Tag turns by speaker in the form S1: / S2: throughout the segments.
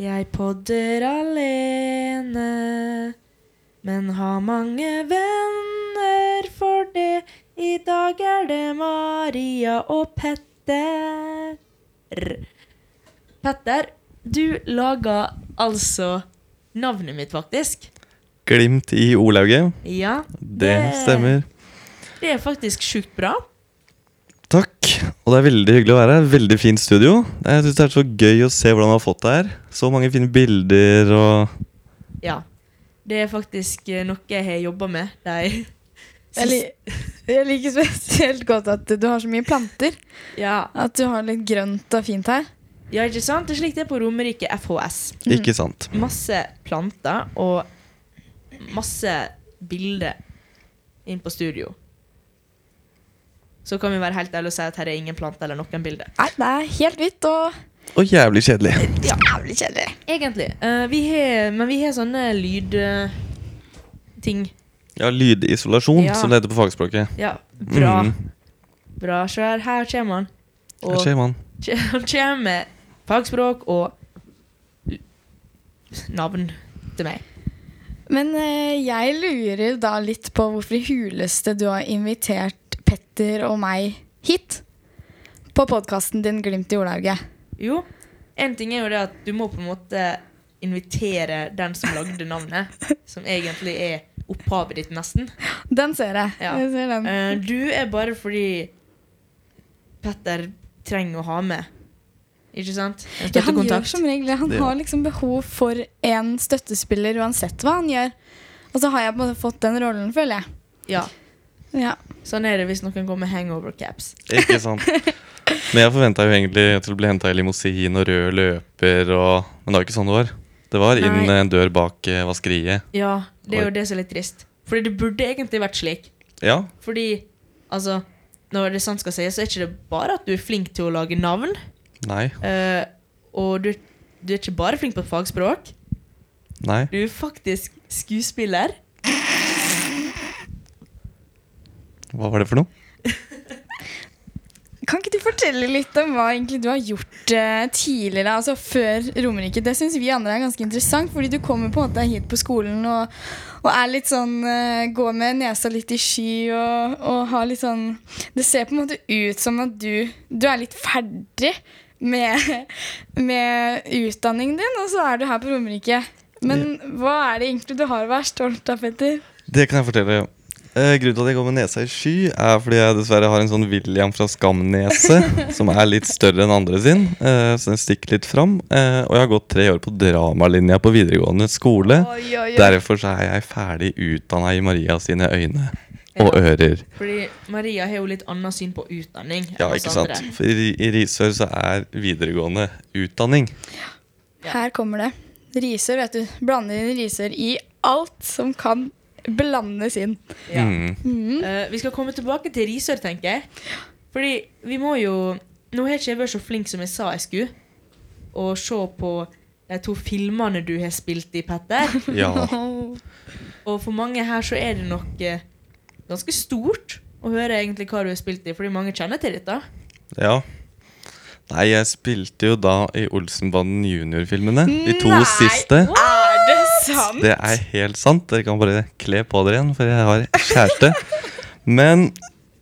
S1: Jeg podder alene, men har mange venner for det. I dag er det Maria og Petter. Petter, du laga altså navnet mitt, faktisk.
S2: Glimt i ordlauget.
S1: Ja,
S2: Det stemmer.
S1: det er faktisk sjukt bra.
S2: Takk. Og det er veldig hyggelig å være her. Veldig fint studio. Jeg syns det er så gøy å se hvordan vi har fått det her. Så mange fine bilder og
S1: Ja. Det er faktisk eh, noe jeg har jobba med de
S3: Jeg, li jeg liker spesielt godt at du har så mye planter.
S1: Ja.
S3: At du har litt grønt og fint her.
S1: ja, ikke sant? Det er slik det er på Romerike FHS.
S2: Ikke sant.
S1: Masse planter og masse bilder inn på studio. Så kan vi være helt ærlige og si at her er ingen planter eller noen bilder.
S3: Nei, det er helt hvitt og
S2: Og jævlig kjedelig.
S3: jævlig kjedelig.
S1: Egentlig. eh, vi har, men vi har sånne eh, lydting.
S2: Ja, lydisolasjon,
S1: Ja.
S2: som det heter på fagspråket.
S1: ja, bra.
S2: Mm.
S1: Bra. Så her, her kommer han.
S2: Her skjer man.
S1: Han kommer med fagspråk og l- navn til meg.
S3: Men eh, jeg lurer da litt på hvorfor i huleste du har invitert Petter og meg hit. På podkasten din Glimt i ordlauget.
S1: Jo, en ting er jo det at du må på en måte invitere den som lagde navnet, som egentlig er opphavet ditt, nesten.
S3: Den ser jeg.
S1: Ja.
S3: jeg ser den.
S1: Eh, Du er bare fordi Petter trenger å ha med. Ikke sant? En
S3: Ja, han gjør
S1: støttekontakt.
S3: som regel det. Han
S2: Det-
S3: har liksom behov for en støttespiller uansett hva han gjør. Og så har jeg på en måte fått den rollen, føler jeg.
S1: Ja,
S3: Ja.
S1: sånn er det hvis noen går med hangover caps.
S2: Ikke sant. Men jeg forventa jo egentlig til å bli henta i limousin og rød løper og Men det var ikke sånn det var. Det var inn
S1: Nei.
S2: eh, en dør bak eh, vaskeriet.
S1: Ja, det er jo det som er litt trist. Fordi det burde egentlig vært slik.
S2: Ja.
S1: Fordi, altså Når det sant skal sies, så er ikke det bare at du er flink til å lage navn.
S2: Nei.
S1: eh, og du, du er ikke bare flink på fagspråk.
S2: Nei.
S1: Du er faktisk skuespiller.
S2: Hva var det for noe?
S3: Kan ikke du fortelle litt om hva egentlig du har gjort eh, tidligere, altså før Romerike? Det syns vi andre er ganske interessant, fordi du kommer på en måte hit på skolen og, og er litt sånn eh, Går med nesa litt i sky og, og har litt sånn Det ser på en måte ut som at du, du er litt ferdig med, med utdanningen din, og så er du her på Romerike. Men hva er det egentlig du har å være stolt av, Petter?
S2: Det kan jeg fortelle. Eh, grunnen til at jeg går med nesa i sky, er fordi jeg dessverre har en sånn William fra Skam-nese. som er litt større enn andre sin, eh, så den stikker litt fram. Eh, og jeg har gått tre år på dramalinja på videregående skole.
S3: Oi, oi, oi.
S2: Derfor så er jeg ferdig utdanna i Maria sine øyne og ører.
S1: Fordi Maria har jo litt annet syn på utdanning. enn
S2: Ja,
S1: oss
S2: ikke sant?
S1: andre.
S2: For i, i Risør så er videregående utdanning.
S3: Her kommer det. Risør, vet du. Blande inn risør i alt som kan blandes inn.
S1: Ja.
S2: Mm.
S1: Eh, vi skal komme tilbake til Risør, tenker jeg. Fordi vi må jo Nå har ikke jeg vært så flink som jeg sa jeg skulle, å se på de to filmene du har spilt i, Petter.
S2: Ja.
S1: Og for mange her så er det nok eh, ganske stort å høre egentlig hva du har spilt i, fordi mange kjenner til dette.
S2: Ja. Nei, jeg spilte jo da i Olsenbanden junior-filmene. De to siste.
S3: Er det sant?
S2: Det er helt sant. Dere kan bare kle på dere igjen, for jeg har kjæreste. Men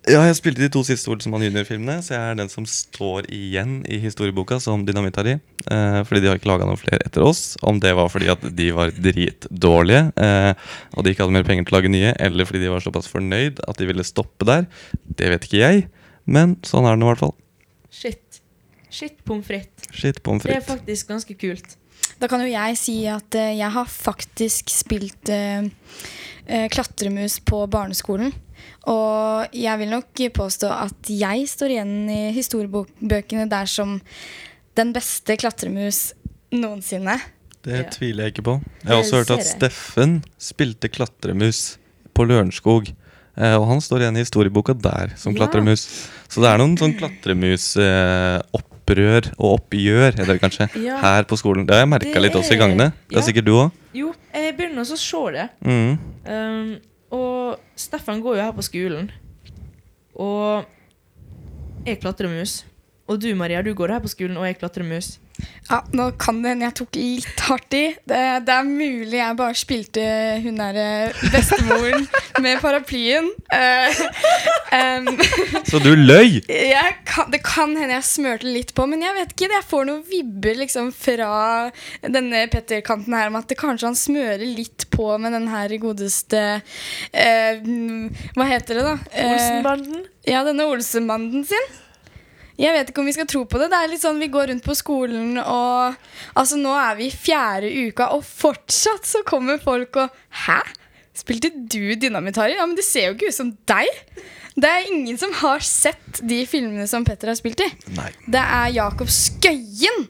S2: ja, jeg spilte de to siste Olsenmann junior-filmene, så jeg er den som står igjen i historieboka som dynamittari. Eh, fordi de har ikke laga noen flere etter oss. Om det var fordi at de var dritdårlige, eh, og de ikke hadde mer penger til å lage nye, eller fordi de var såpass fornøyd at de ville stoppe der, det vet ikke jeg. Men sånn er det nå i hvert fall.
S1: Shit. Shit pommes frites.
S2: Shit, pommes
S1: Det er
S2: frites.
S1: faktisk ganske kult.
S3: Da kan jo jeg si at eh, jeg har faktisk spilt eh, eh, klatremus på barneskolen. Og jeg vil nok påstå at jeg står igjen i historiebøkene der som den beste klatremus noensinne.
S2: Det
S1: Ja.
S2: tviler jeg ikke på. Jeg har
S1: Det
S2: også hørt
S1: ser
S2: at
S1: jeg.
S2: Steffen spilte klatremus på Lørenskog. eh, Og han står igjen i historieboka der som
S1: Ja.
S2: klatremus. Så det er noen sånn klatremusopprør og oppgjør, heter det kanskje,
S1: Ja.
S2: her på skolen. Det har jeg merka
S1: Det
S2: litt også i
S1: er-
S2: gangene. Det
S1: ja.
S2: er sikkert du òg.
S1: Jo, jeg begynner også å se det.
S2: Mm.
S1: Um, og Steffen går jo her på skolen. Og jeg klatrer mus. Og du, Maria, du går her på skolen, og jeg klatrer mus.
S3: Ja, nå kan det hende jeg tok litt hardt i. Det, det er mulig jeg bare spilte hun der eh, bestemoren med paraplyen. Eh, em,
S2: Så du løy!
S3: jeg kan, det kan hende jeg smørte litt på, men jeg vet ikke. Jeg får noen vibber liksom fra denne Petter-kanten her om at det kanskje han smører litt på med den her godeste eh, Hva heter det, da? Eh,
S1: Olsenbanden.
S3: ja, denne Olsenbanden sin. Jeg vet ikke om vi skal tro på det. Det er litt sånn Vi går rundt på skolen, og altså nå er vi i fjerde uka, og fortsatt så kommer folk og Hæ? Spilte du dynamitari? Ja, men det ser jo ikke ut som deg! Det er ingen som har sett de filmene som Petter har spilt i.
S2: Nei. Mm.
S3: Det er Jakob Skøyen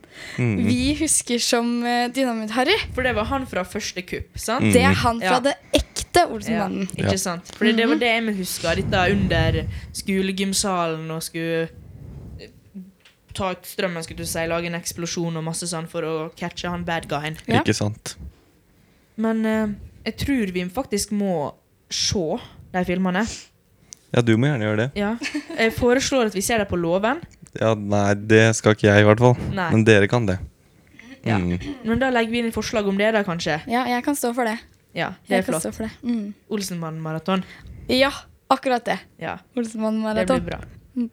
S2: Mhm.
S3: vi husker som eh, Dynamitt-Harry.
S1: For det var han fra første kupp, sant?
S3: Det er han fra
S1: Ja.
S3: det
S1: Ja,
S3: ekte Olsenbanden. Mhm.
S2: Ja.
S1: ikke sant? Fordi det var det jeg huska. Dette under skolegymsalen og skulle eh, ta ut strømmen, skulle du si, lage en eksplosjon og masse sånn for å catche han bad guyen.
S3: Ja.
S2: Ikke sant.
S1: Men eh, jeg tror vi faktisk må se de filmene.
S2: Ja, du må gjerne gjøre det.
S1: Ja. Jeg foreslår at vi ser dem på låven.
S2: Ja, Nei, det skal ikke jeg, i hvert fall.
S1: Nei.
S2: Men dere kan det.
S1: Ja.
S2: Mm.
S1: Men da legger vi inn forslag om det, da, kanskje.
S3: Ja, jeg kan stå for det.
S1: Ja, det
S3: Jeg
S1: er
S3: kan
S1: flott.
S3: stå for det. Mm.
S1: Olsenmannen-maraton.
S3: Ja, akkurat det.
S1: Ja, det blir
S3: Olsenbanden-maraton.
S1: bra.
S3: Mm.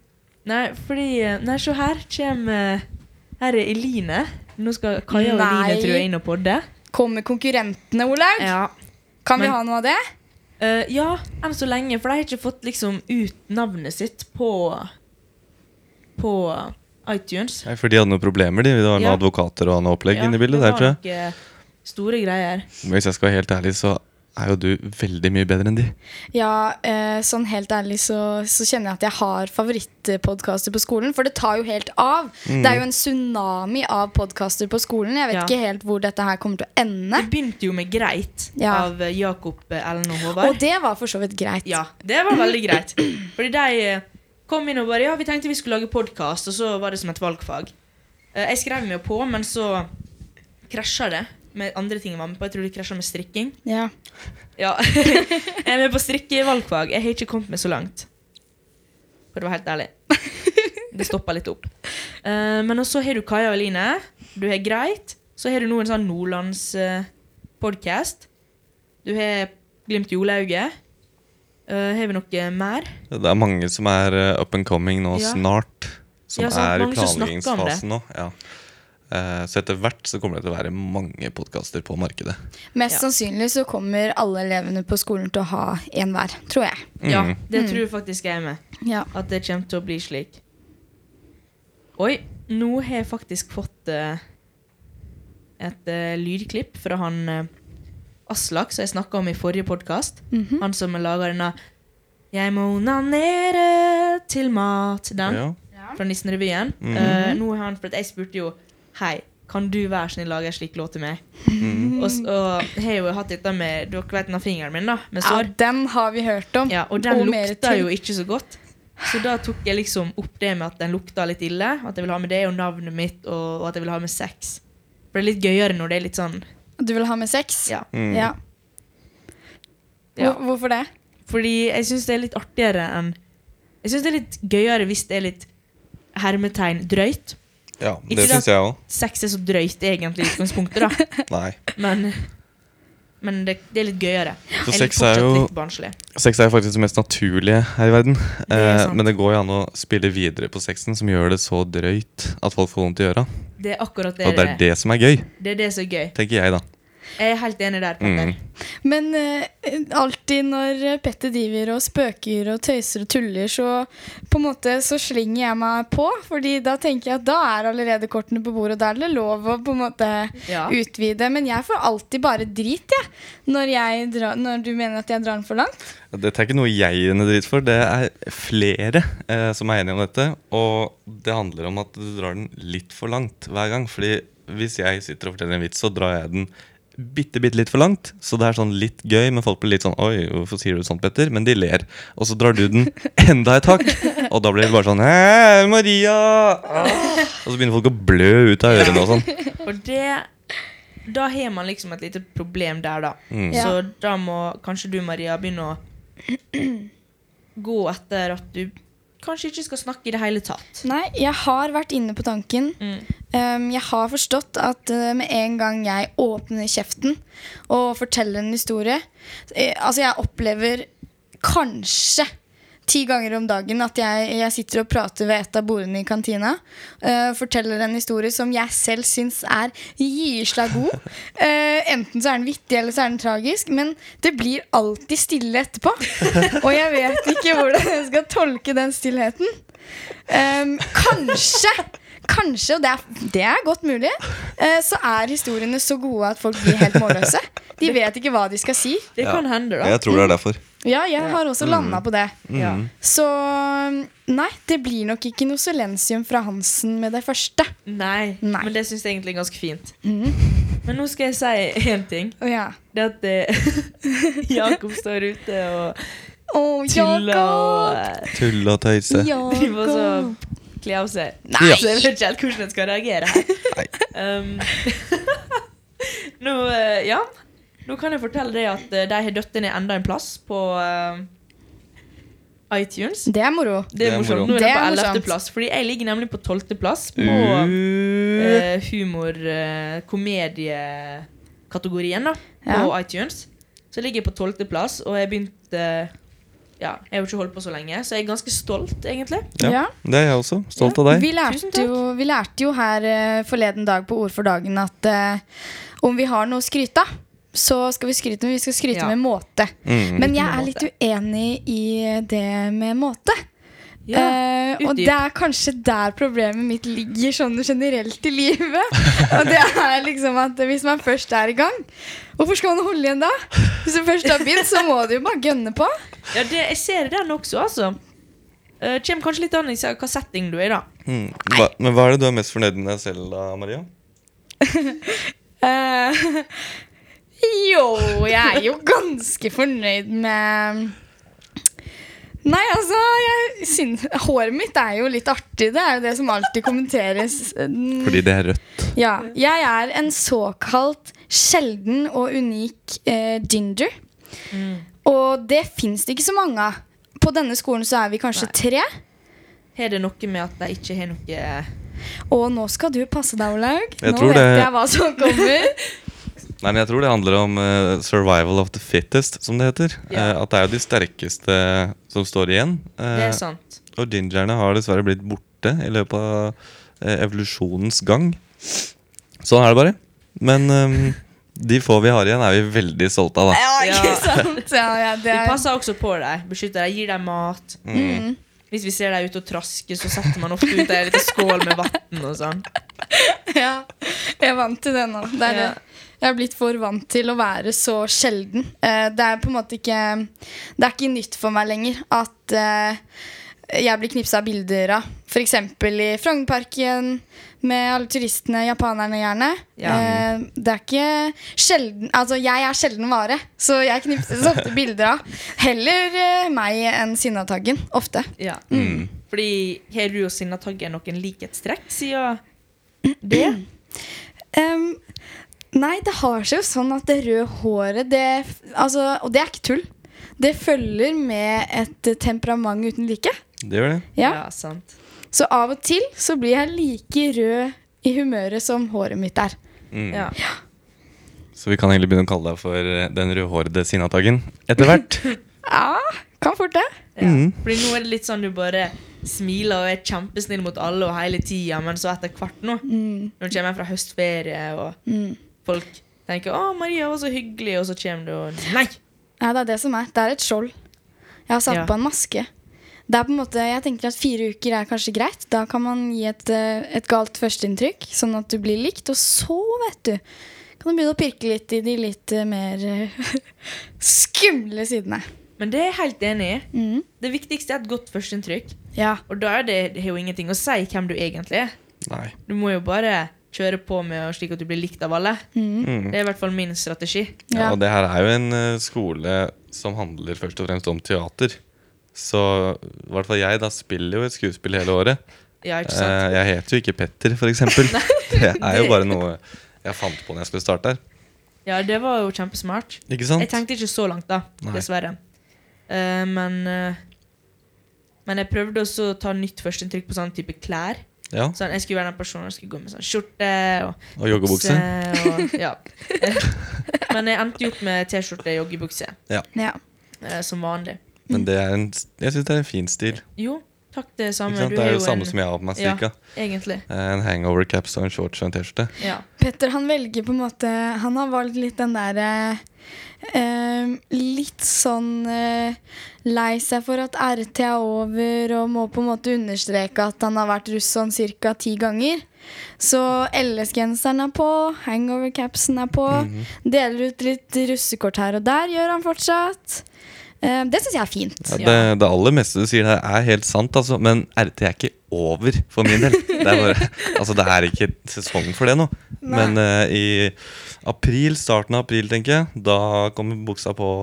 S1: Nei, fordi eh, Nei, se her kommer eh, Her er Eline. Nå skal Kaja og
S3: Nei.
S1: Eline, tror jeg, inn og podde.
S3: Kommer konkurrentene, Olaug?
S1: Ja.
S3: Kan vi
S1: Men-
S3: ha noe av det?
S1: Eh, ja, enn så lenge, for de har ikke fått liksom ut navnet sitt på På iTunes.
S2: Nei, For de hadde noen problemer, de. Det var noen
S1: Ja.
S2: advokater og noe opplegg
S1: Ja,
S2: inne i bildet
S1: det
S2: der,
S1: var
S2: tror jeg.
S1: nok, eh, Store greier.
S2: Men hvis jeg skal være helt ærlig, så er jo du veldig mye bedre enn de.
S3: Ja, eh, sånn helt ærlig så, så kjenner jeg at jeg har favorittpodkaster på skolen, for det tar jo helt av. Det er jo en tsunami av podkaster på skolen. Jeg vet
S1: Ja.
S3: ikke helt hvor dette her kommer til å ende.
S1: Det begynte jo med 'Greit'
S3: Ja.
S1: av eh, Jakob, eh, Ellen og Håvard.
S3: Og det var for så vidt greit.
S1: Ja, det var veldig greit. Fordi de eh, kom inn og bare Ja, vi tenkte vi skulle lage podkast, og så var det som et valgfag. Eh, Jeg skrev meg jo på, men så krasja det med andre ting jeg var med på. Jeg tror det krasja med strikking.
S3: Ja.
S1: Ja. jeg er med på strikkevalgfag. Jeg har ikke kommet meg så langt. For å være helt ærlig. Det stoppa litt opp. Eh, men så har du Kaja og Eline. Du har Greit. Så har du nå en sånn Nordlands-podkast. du har Glimt Jolauget. Eh, har vi noe mer?
S2: Det er mange som er eh, up and coming nå
S1: Ja.
S2: snart. Som
S1: Ja, sant,
S2: er i
S1: mange som snakker om det.
S2: planleggingsfasen nå. Ja. Eh, så etter hvert så kommer det til å være mange podkaster på markedet.
S3: Mest
S1: Ja.
S3: sannsynlig så kommer alle elevene på skolen til å ha en hver, tror jeg.
S1: Ja,
S2: Mm.
S1: det tror jeg faktisk jeg er med.
S3: Ja.
S1: At det kommer til å bli slik. Oi, nå har jeg faktisk fått eh, et eh, lydklipp fra han eh, Aslak som jeg snakka om i forrige podkast.
S3: Mm. Mhm.
S1: Han som laga denne 'Jeg må onanere til mat', den
S2: Ja.
S1: fra Nissenrevyen.
S2: Mhm.
S1: Eh, nå har han, for at jeg spurte jo 'Hei, kan du være sånn snill lage en slik låt til meg?'
S2: Mm.
S1: Og, s- og har jo hatt dette med Dere vet den fingeren min, da, med
S3: ja,
S1: sår.
S3: den har vi hørt om.
S1: Ja, og den
S3: mer
S1: lukta
S3: til.
S1: jo ikke så godt. Så da tok jeg liksom opp det med at den lukta litt ille. At jeg vil ha med det og navnet mitt, og, og at jeg vil ha med sex. For det er litt gøyere når det er litt sånn
S3: Du vil ha med sex?
S1: Ja.
S2: Mm.
S3: Ja.
S1: Ja.
S3: Hvor, hvorfor det?
S1: Fordi jeg syns det er litt artigere enn Jeg syns det er litt gøyere hvis det er litt hermetegn drøyt.
S2: ja
S1: Ikke
S2: det
S1: sant?
S2: syns jeg òg.
S1: Sex er så drøyt egentlig i utgangspunktet, da.
S2: Nei.
S1: Men, men det, det er litt gøyere.
S2: Så
S1: Jeg
S2: sex
S1: liker
S2: er
S1: fortsatt
S2: jo
S1: litt barnslig.
S2: Sex er jo faktisk det mest naturlige her i verden.
S1: er
S2: Eh,
S1: sant.
S2: men det går jo an å spille videre på sexen, som gjør det så drøyt at folk får vondt i øra.
S1: Det er akkurat det
S2: Og det
S1: det
S2: er
S1: er.
S2: det som er gøy,
S1: Det er det som er gøy.
S2: tenker jeg, da.
S1: Jeg er helt enig der. Petter.
S2: Mm.
S3: Men eh, alltid når eh, Petter driver og spøker og tøyser og tuller, så på en måte så slenger jeg meg på. Fordi da tenker jeg at da er allerede kortene på bordet, og da er det lov å på en måte
S1: Ja.
S3: utvide. Men jeg får alltid bare drit, jeg, når, jeg drar, når du mener at jeg drar den for langt.
S2: Dette er ikke noe jeg gir henne dritt for. Det er flere eh, som er enige om dette. Og det handler om at du drar den litt for langt hver gang. Fordi hvis jeg sitter og forteller en vits, så drar jeg den bitte, bitte litt for langt. Så det er sånn litt gøy, men folk blir litt sånn Oi, hvorfor sier du sånt, Petter? Men de ler. Og så drar du den enda et hakk. Og da blir det bare sånn Hæ, Maria! Ah!» Og så begynner folk å blø ut av ørene og sånn.
S1: Og det Da har man liksom et lite problem der, da.
S2: Mm.
S3: Ja.
S1: Så da må kanskje du, Maria, begynne å gå etter at du kanskje ikke skal snakke i det hele tatt. Mm.
S3: Nei, jeg har vært inne på tanken. Um, jeg har forstått at uh, med en gang jeg åpner kjeften og forteller en historie eh, Altså, jeg opplever kanskje ti ganger om dagen at jeg, jeg sitter og prater ved et av bordene i kantina. eh, forteller en historie som jeg selv syns er gysla god. Eh, enten så er den vittig, eller så er den tragisk. Men det blir alltid stille etterpå. Og jeg vet ikke hvordan jeg skal tolke den stillheten. Ehm, kanskje, kanskje, og det er, det er godt mulig, eh, så er historiene så gode at folk blir helt målløse. De vet ikke hva de skal si.
S1: Det
S2: Ja. Mm.
S1: kan hende, da.
S2: Jeg tror det er derfor.
S3: Ja, jeg har også landa på det.
S1: Ja.
S3: Så mm, nei, det blir nok ikke noe solensium fra Hansen med det første.
S1: Nei,
S3: Nei.
S1: men det syns jeg egentlig er ganske fint.
S3: Mhm.
S1: Men nå skal jeg si én ting.
S3: Å ja.
S1: Det at eh, Jakob står ute og
S3: Å,
S1: tuller og
S3: Jakob!
S1: eh,
S2: Tulle og tøyse.
S1: driver og
S3: Jakob!
S1: så kler av seg.
S3: Nei!
S1: Så jeg vet ikke helt hvordan jeg skal reagere her.
S2: Nei.
S1: Um, nå, eh, ja. nå kan jeg fortelle deg at eh, de har dødd ned enda en plass på eh, iTunes.
S3: Det er moro.
S1: Det er morsomt. Nå er
S3: Det
S1: det
S3: er
S1: på
S3: morsomt.
S1: 11. plass, fordi jeg ligger nemlig på 12. plass på
S2: Uh,
S1: eh, humor eh, komediekategorien da, på
S3: Ja.
S1: iTunes. Så jeg ligger på tolvteplass, og jeg begynte Ja, jeg har jo ikke holdt på så lenge, så jeg er ganske stolt, egentlig.
S3: Ja.
S2: ja. Det er jeg også. Stolt av deg.
S3: Vi
S1: Tusen
S3: lærte,
S1: takk.
S3: jo, vi lærte jo her eh, forleden dag på Ord for dagen at eh, om vi har noe å skryte av, så skal vi skryte, men vi skal skryte
S1: Ja.
S3: med måte.
S2: Mm.
S3: Men jeg
S1: Med
S3: er
S1: måte.
S3: litt uenig i det med måte. Eh, og
S1: utdyp.
S3: det er kanskje der problemet mitt ligger sånn generelt i livet. Og det er liksom at hvis man først er i gang, hvorfor skal man holde igjen da? Hvis du først har begynt, så må du jo bare gønne på.
S1: Ja, det, jeg ser den også, altså. Uh, Kjem kanskje litt an i se- hva setting du er i, da.
S2: Mm. Hva, men hva er det du er mest fornøyd med deg selv, da, Maria?
S3: Eh, jo, jeg er jo ganske fornøyd med Nei, altså, jeg syns Håret mitt er jo litt artig. Det er jo det som alltid kommenteres.
S2: Fordi det er rødt.
S3: Ja, jeg er en såkalt sjelden og unik eh, ginger. Mm. Og det fins det ikke så mange av. På denne skolen så er vi kanskje
S1: Nei.
S3: tre.
S1: Har det noe med at de ikke har noe
S3: Og nå skal du passe deg, Olaug.
S2: Jeg
S3: nå
S2: tror
S3: vet
S2: det-
S3: jeg hva som kommer.
S2: Nei, men Jeg tror det handler om eh, 'survival of the fittest', som det heter.
S1: Ja.
S2: Eh, at det er jo de sterkeste som står igjen. Eh,
S1: Det er sant.
S2: og gingerne har dessverre blitt borte i løpet av eh, evolusjonens gang. Sånn er det bare. Men eh, de få vi har igjen, er vi veldig stolte av, da.
S3: Ja, ikke
S1: Ja.
S3: sant? Ja, ja, det
S1: Vi
S3: er...
S1: passer også på dem. Beskytter dem, gir dem mat.
S3: Mm.
S1: Hvis vi ser dem ute og trasker, så setter man ofte ut ei lita skål med vann og sånn.
S3: Ja, jeg er vant til det nå. Det er
S1: Ja.
S3: det. Jeg er blitt for vant til å være så sjelden. Eh, Det er på en måte ikke Det er ikke nytt for meg lenger at eh, jeg blir knipsa av bilder av. F.eks. i Frognerparken med alle turistene, japanerne gjerne.
S1: Ja.
S3: Eh, Det er ikke sjelden Altså, jeg er sjelden vare, så jeg knipses ofte bilder av. Heller eh, meg enn Sinnataggen. Ofte.
S1: Ja. Fordi har du og Sinna Tagge noen likhetstrekk siden det?
S3: Ehm, nei, det har seg jo sånn at det røde håret det, f- altså, Og det er ikke tull. Det følger med et eh, temperament uten like.
S2: Det gjør det.
S3: Ja.
S1: sant.
S3: Så av og til så blir jeg like rød i humøret som håret mitt er.
S2: Mm.
S1: Ja.
S2: Så vi kan egentlig begynne å kalle deg for eh, den rødhårede Sinnataggen etter hvert.
S3: Ja, kan fort det.
S1: Ja.
S2: Mm.
S1: Fordi nå er det litt sånn du bare smiler og er kjempesnill mot alle og hele tida, men så etter hvert nå,
S3: Mm.
S1: når du kommer hjem fra høstferie, og folk tenker 'Å, Maria var så hyggelig', og så kommer du og Nei!
S3: Ja, det er det som er. Det er et skjold. Jeg har satt
S1: Ja.
S3: på en maske. Det er på en måte, jeg tenker at Fire uker er kanskje greit. Da kan man gi et, eh, et galt førsteinntrykk, sånn at du blir likt. Og så, vet du, kan du begynne å pirke litt i de litt eh, mer eh, skumle sidene.
S1: Men det er jeg helt enig i.
S3: Mhm.
S1: Det viktigste er et godt førsteinntrykk.
S3: Ja.
S1: Og da er det, det har jo ingenting å si hvem du egentlig er.
S2: Nei.
S1: Du må jo bare kjøre på med og slik at du blir likt av alle.
S2: Mm.
S1: Det er i hvert fall min strategi.
S2: Ja,
S3: Ja.
S2: og det her er jo en eh, skole som handler først og fremst om teater. Så i hvert fall jeg da spiller jo et skuespill hele året.
S1: Ja, ikke sant?
S2: Eh, jeg heter jo ikke Petter, for eksempel. det er jo bare noe jeg fant på når jeg skulle starte her.
S1: Ja, det var jo kjempesmart.
S2: Ikke
S1: Jeg
S2: sant?
S1: tenkte ikke så langt, da.
S2: Nei.
S1: Dessverre. Eh, men eh, Men jeg prøvde også å ta nytt førsteinntrykk på sånn type klær.
S2: Ja,
S1: Sånn, jeg skulle være den personen som skulle gå med sånn skjorte og
S2: Og joggebukse.
S1: bukse Og, ja. Men jeg endte jo opp med T-skjorte og joggebukse,
S3: Ja.
S1: eh, som vanlig.
S2: Men det er en, jeg syns det er en fin stil.
S1: Jo, takk, det er
S2: Ikke
S1: samme.
S2: sant?
S1: Du
S2: Det er
S1: har
S2: jo det samme
S1: en-
S2: som jeg har på meg.
S1: Ja.
S2: cirka Eh,
S1: Egentlig.
S2: En hangover caps og en shorts og en T-skjorte.
S1: Ja.
S3: Petter han velger på en måte Han har valgt litt den derre Litt sånn eh, lei seg for at RT er over, og må på en måte understreke at han har vært russ sånn ca. ti ganger. Så LS-genseren er på, hangover-capsen er på. Deler ut litt russekort her og der, gjør han fortsatt. Eh, det syns jeg er fint.
S2: Ja, det, det aller meste du sier der, er helt sant, altså. Men RT er ikke over for min del. Det er, bare, altså, det er ikke sesong for det nå. Men eh, i april, starten av april, tenker jeg, da kommer buksa på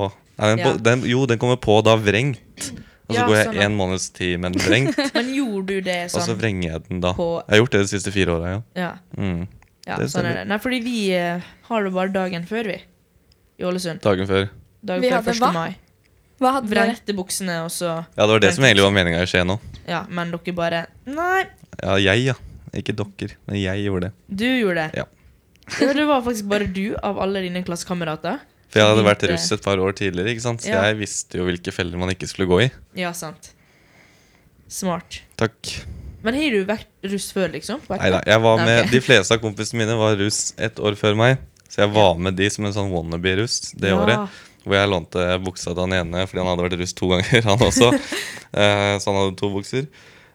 S2: Nei, den, på-
S1: Ja.
S2: den, Jo, den kommer på da vrengt. Og så
S1: Ja,
S2: går jeg
S1: sånn,
S2: én
S1: ja.
S2: måneds tid med den vrengt,
S1: Men gjorde du det
S2: og så
S1: sånn?
S2: vrenger jeg den da.
S1: På-
S2: Jeg har gjort det de siste fire åra, ja.
S1: Ja,
S2: Mm.
S1: ja
S2: Det
S1: sånn er det. Nei, fordi vi eh, har det bare dagen før, vi. I Ålesund.
S2: Dagen før.
S1: Dagen
S3: Vi
S1: før
S3: hadde
S1: 1.
S3: hva?
S1: mai.
S3: Hva hadde dere?
S1: Vrengte buksene, og så
S2: Ja, det var det som egentlig var meninga i Skien nå.
S1: Ja, men dere bare Nei,
S2: Ja, jeg, ja. Ikke dere, men jeg gjorde det.
S1: du gjorde det.
S2: Ja.
S1: Ja, det var faktisk bare du av alle dine klassekamerater.
S2: For jeg hadde vært
S1: Begynte-
S2: russ et par år tidligere, ikke sant? så
S1: Ja.
S2: jeg visste jo hvilke feller man ikke skulle gå i.
S1: Ja, sant. Smart.
S2: Takk.
S1: Men har du vært russ før, liksom? Vært-
S2: Neida, jeg var
S1: Nei,
S2: med,
S1: ok.
S2: De fleste av kompisene mine var russ et år før meg, så jeg var med de som en sånn wannabe-russ det
S1: Ja.
S2: året. Hvor jeg lånte buksa til han ene fordi han hadde vært russ to ganger, han også. Eh, så han hadde to bukser.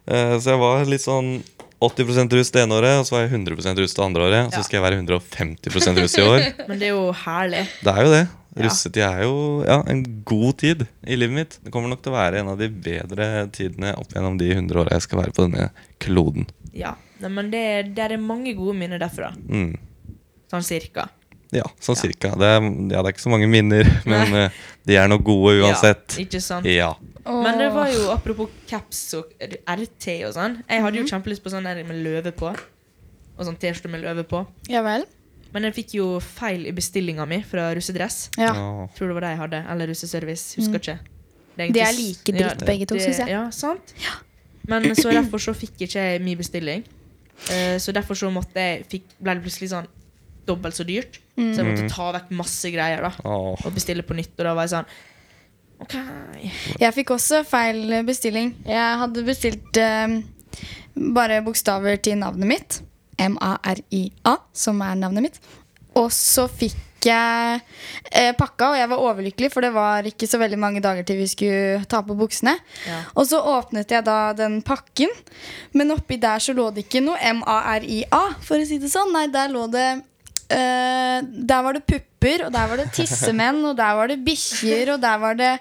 S2: Eh, så jeg var litt sånn 80 russ det ene året, og så var jeg 100 russ det andre året. Og
S1: Ja.
S2: så skal jeg være 150 russ i år.
S1: Men det er jo herlig.
S2: Det er jo det.
S1: Ja.
S2: Russetid er jo ja, en god tid i livet mitt. Det kommer nok til å være en av de bedre tidene opp gjennom de 100 åra jeg skal være på denne kloden.
S1: Ja. Nei, men det, det er mange gode minner derfra.
S2: Mm.
S1: Sånn cirka.
S2: Ja, sånn
S1: Ja.
S2: cirka. Det er, ja, det er ikke så mange minner, men eh, de er nok gode uansett.
S1: Ja, ikke sant?
S2: Ja.
S1: Men det var jo apropos caps og RT og sånn. Jeg hadde jo kjempelyst på sånn der med løve på. Og sånn T-skjorte med løve på.
S3: Ja vel?
S1: Men jeg fikk jo feil i bestillinga mi fra russedress.
S3: Ja.
S2: Åh.
S1: Tror det var det jeg hadde. Eller russeservice. Husker ikke. Det
S3: Mm. De
S1: egentlig
S3: er
S1: s-
S3: like dritt, begge to,
S1: det-
S3: syns jeg.
S1: Ja, sant? Men så derfor så fikk ikke jeg min bestilling. Eh, så derfor så måtte jeg fikk, ble det plutselig sånn dobbelt så dyrt.
S3: Mm.
S1: Så jeg måtte ta vekk masse greier da
S2: Åh.
S1: og bestille på nytt. Og da var jeg sånn OK.
S3: Jeg fikk også feil bestilling. Jeg hadde bestilt eh, bare bokstaver til navnet mitt. M-A-R-I-A, som er navnet mitt. Og så fikk jeg eh, pakka, og jeg var overlykkelig, for det var ikke så veldig mange dager til vi skulle ta på buksene.
S1: Ja.
S3: Og så åpnet jeg da den pakken, men oppi der så lå det ikke noe M-A-R-I-A, for å si det sånn. Nei, der lå det eh, der var det pupper, og der var det tissemenn, og der var det bikkjer, og der var det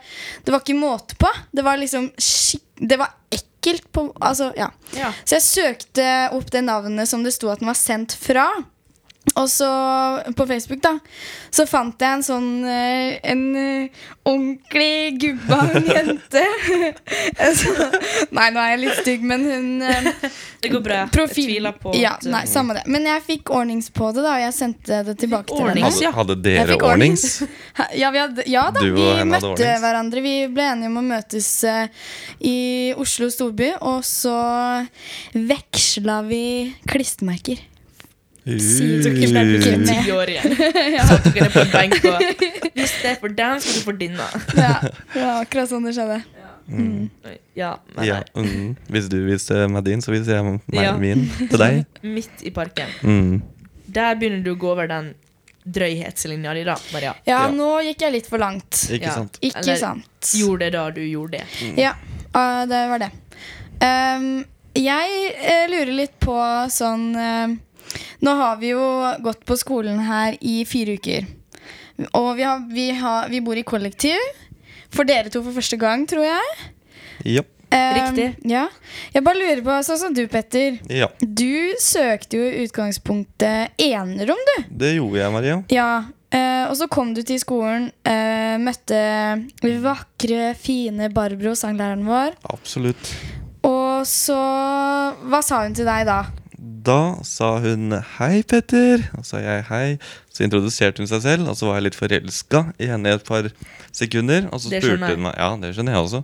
S3: Det var ikke måte på. Det var liksom skik- Det var ekkelt på Altså, ja.
S1: Ja.
S3: Så jeg søkte opp det navnet som det sto at den var sendt fra. Og så på Facebook da Så fant jeg en sånn eh, En eh, ordentlig gubba en jente Så- Nei, nå er jeg litt stygg Men hun eh,
S1: Det går bra.
S3: profil,
S1: Jeg tviler på
S3: ja,
S1: at- eh,
S3: nei, samme det Men jeg fikk ordnings på det da Og jeg sendte det tilbake til henne
S1: ordnings,
S2: Hadde,
S1: ja.
S2: hadde
S3: Jeg
S2: dere
S3: fikk
S2: ordnings?
S3: Hæ? Ja, vi hadde, ja da,
S2: Du og
S3: vi
S2: henne hadde
S3: møtte
S2: ordnings.
S3: hverandre. Vi ble enige om å møtes eh, i Oslo storby, og så veksla vi klistremerker. Sier
S1: Dere
S3: Ikke
S1: ble plutselig
S3: med.
S1: ti år igjen. Satt dere på en benk og Hvis det er for den, skal du få denne.
S3: Ja, det var akkurat sånn det skjedde.
S1: Ja, men
S2: Ja, mm. Hvis du viser meg din, så viser jeg meg
S1: Ja.
S2: min til deg.
S1: nei. Midt i parken.
S2: Mm.
S1: Der begynner du å gå over den drøyhetslinja di, da, Maria.
S3: Ja,
S2: Ja.
S3: nå gikk jeg litt for langt.
S2: Ikke
S1: Ja.
S2: sant?
S3: Ikke
S1: Eller-
S3: sant.
S1: Gjorde det da du gjorde det.
S3: Ja, ah, det var det. Ehm, jeg eh, lurer litt på sånn eh, Nå har vi jo gått på skolen her i fire uker. Og vi, har, vi, har, vi bor i kollektiv. For dere to for første gang, tror jeg.
S2: Ja.
S3: Ehm,
S1: Riktig.
S3: Ja. Jeg bare lurer på, sånn som du, Petter.
S2: ja.
S3: Du søkte jo i utgangspunktet enerom, du.
S2: Det gjorde jeg, Maria.
S3: Ja, eh, og så kom du til skolen, eh, møtte vakre, fine Barbro, sanglæreren vår.
S2: Absolutt.
S3: Og så Hva sa hun til deg da?
S2: da sa hun 'hei, Petter', og sa jeg 'hei'. Så introduserte hun seg selv, og så var jeg litt forelska i henne i et par sekunder. Og så
S1: Det
S2: spurte
S1: skjønner jeg.
S2: hun meg Ja, det skjønner jeg også.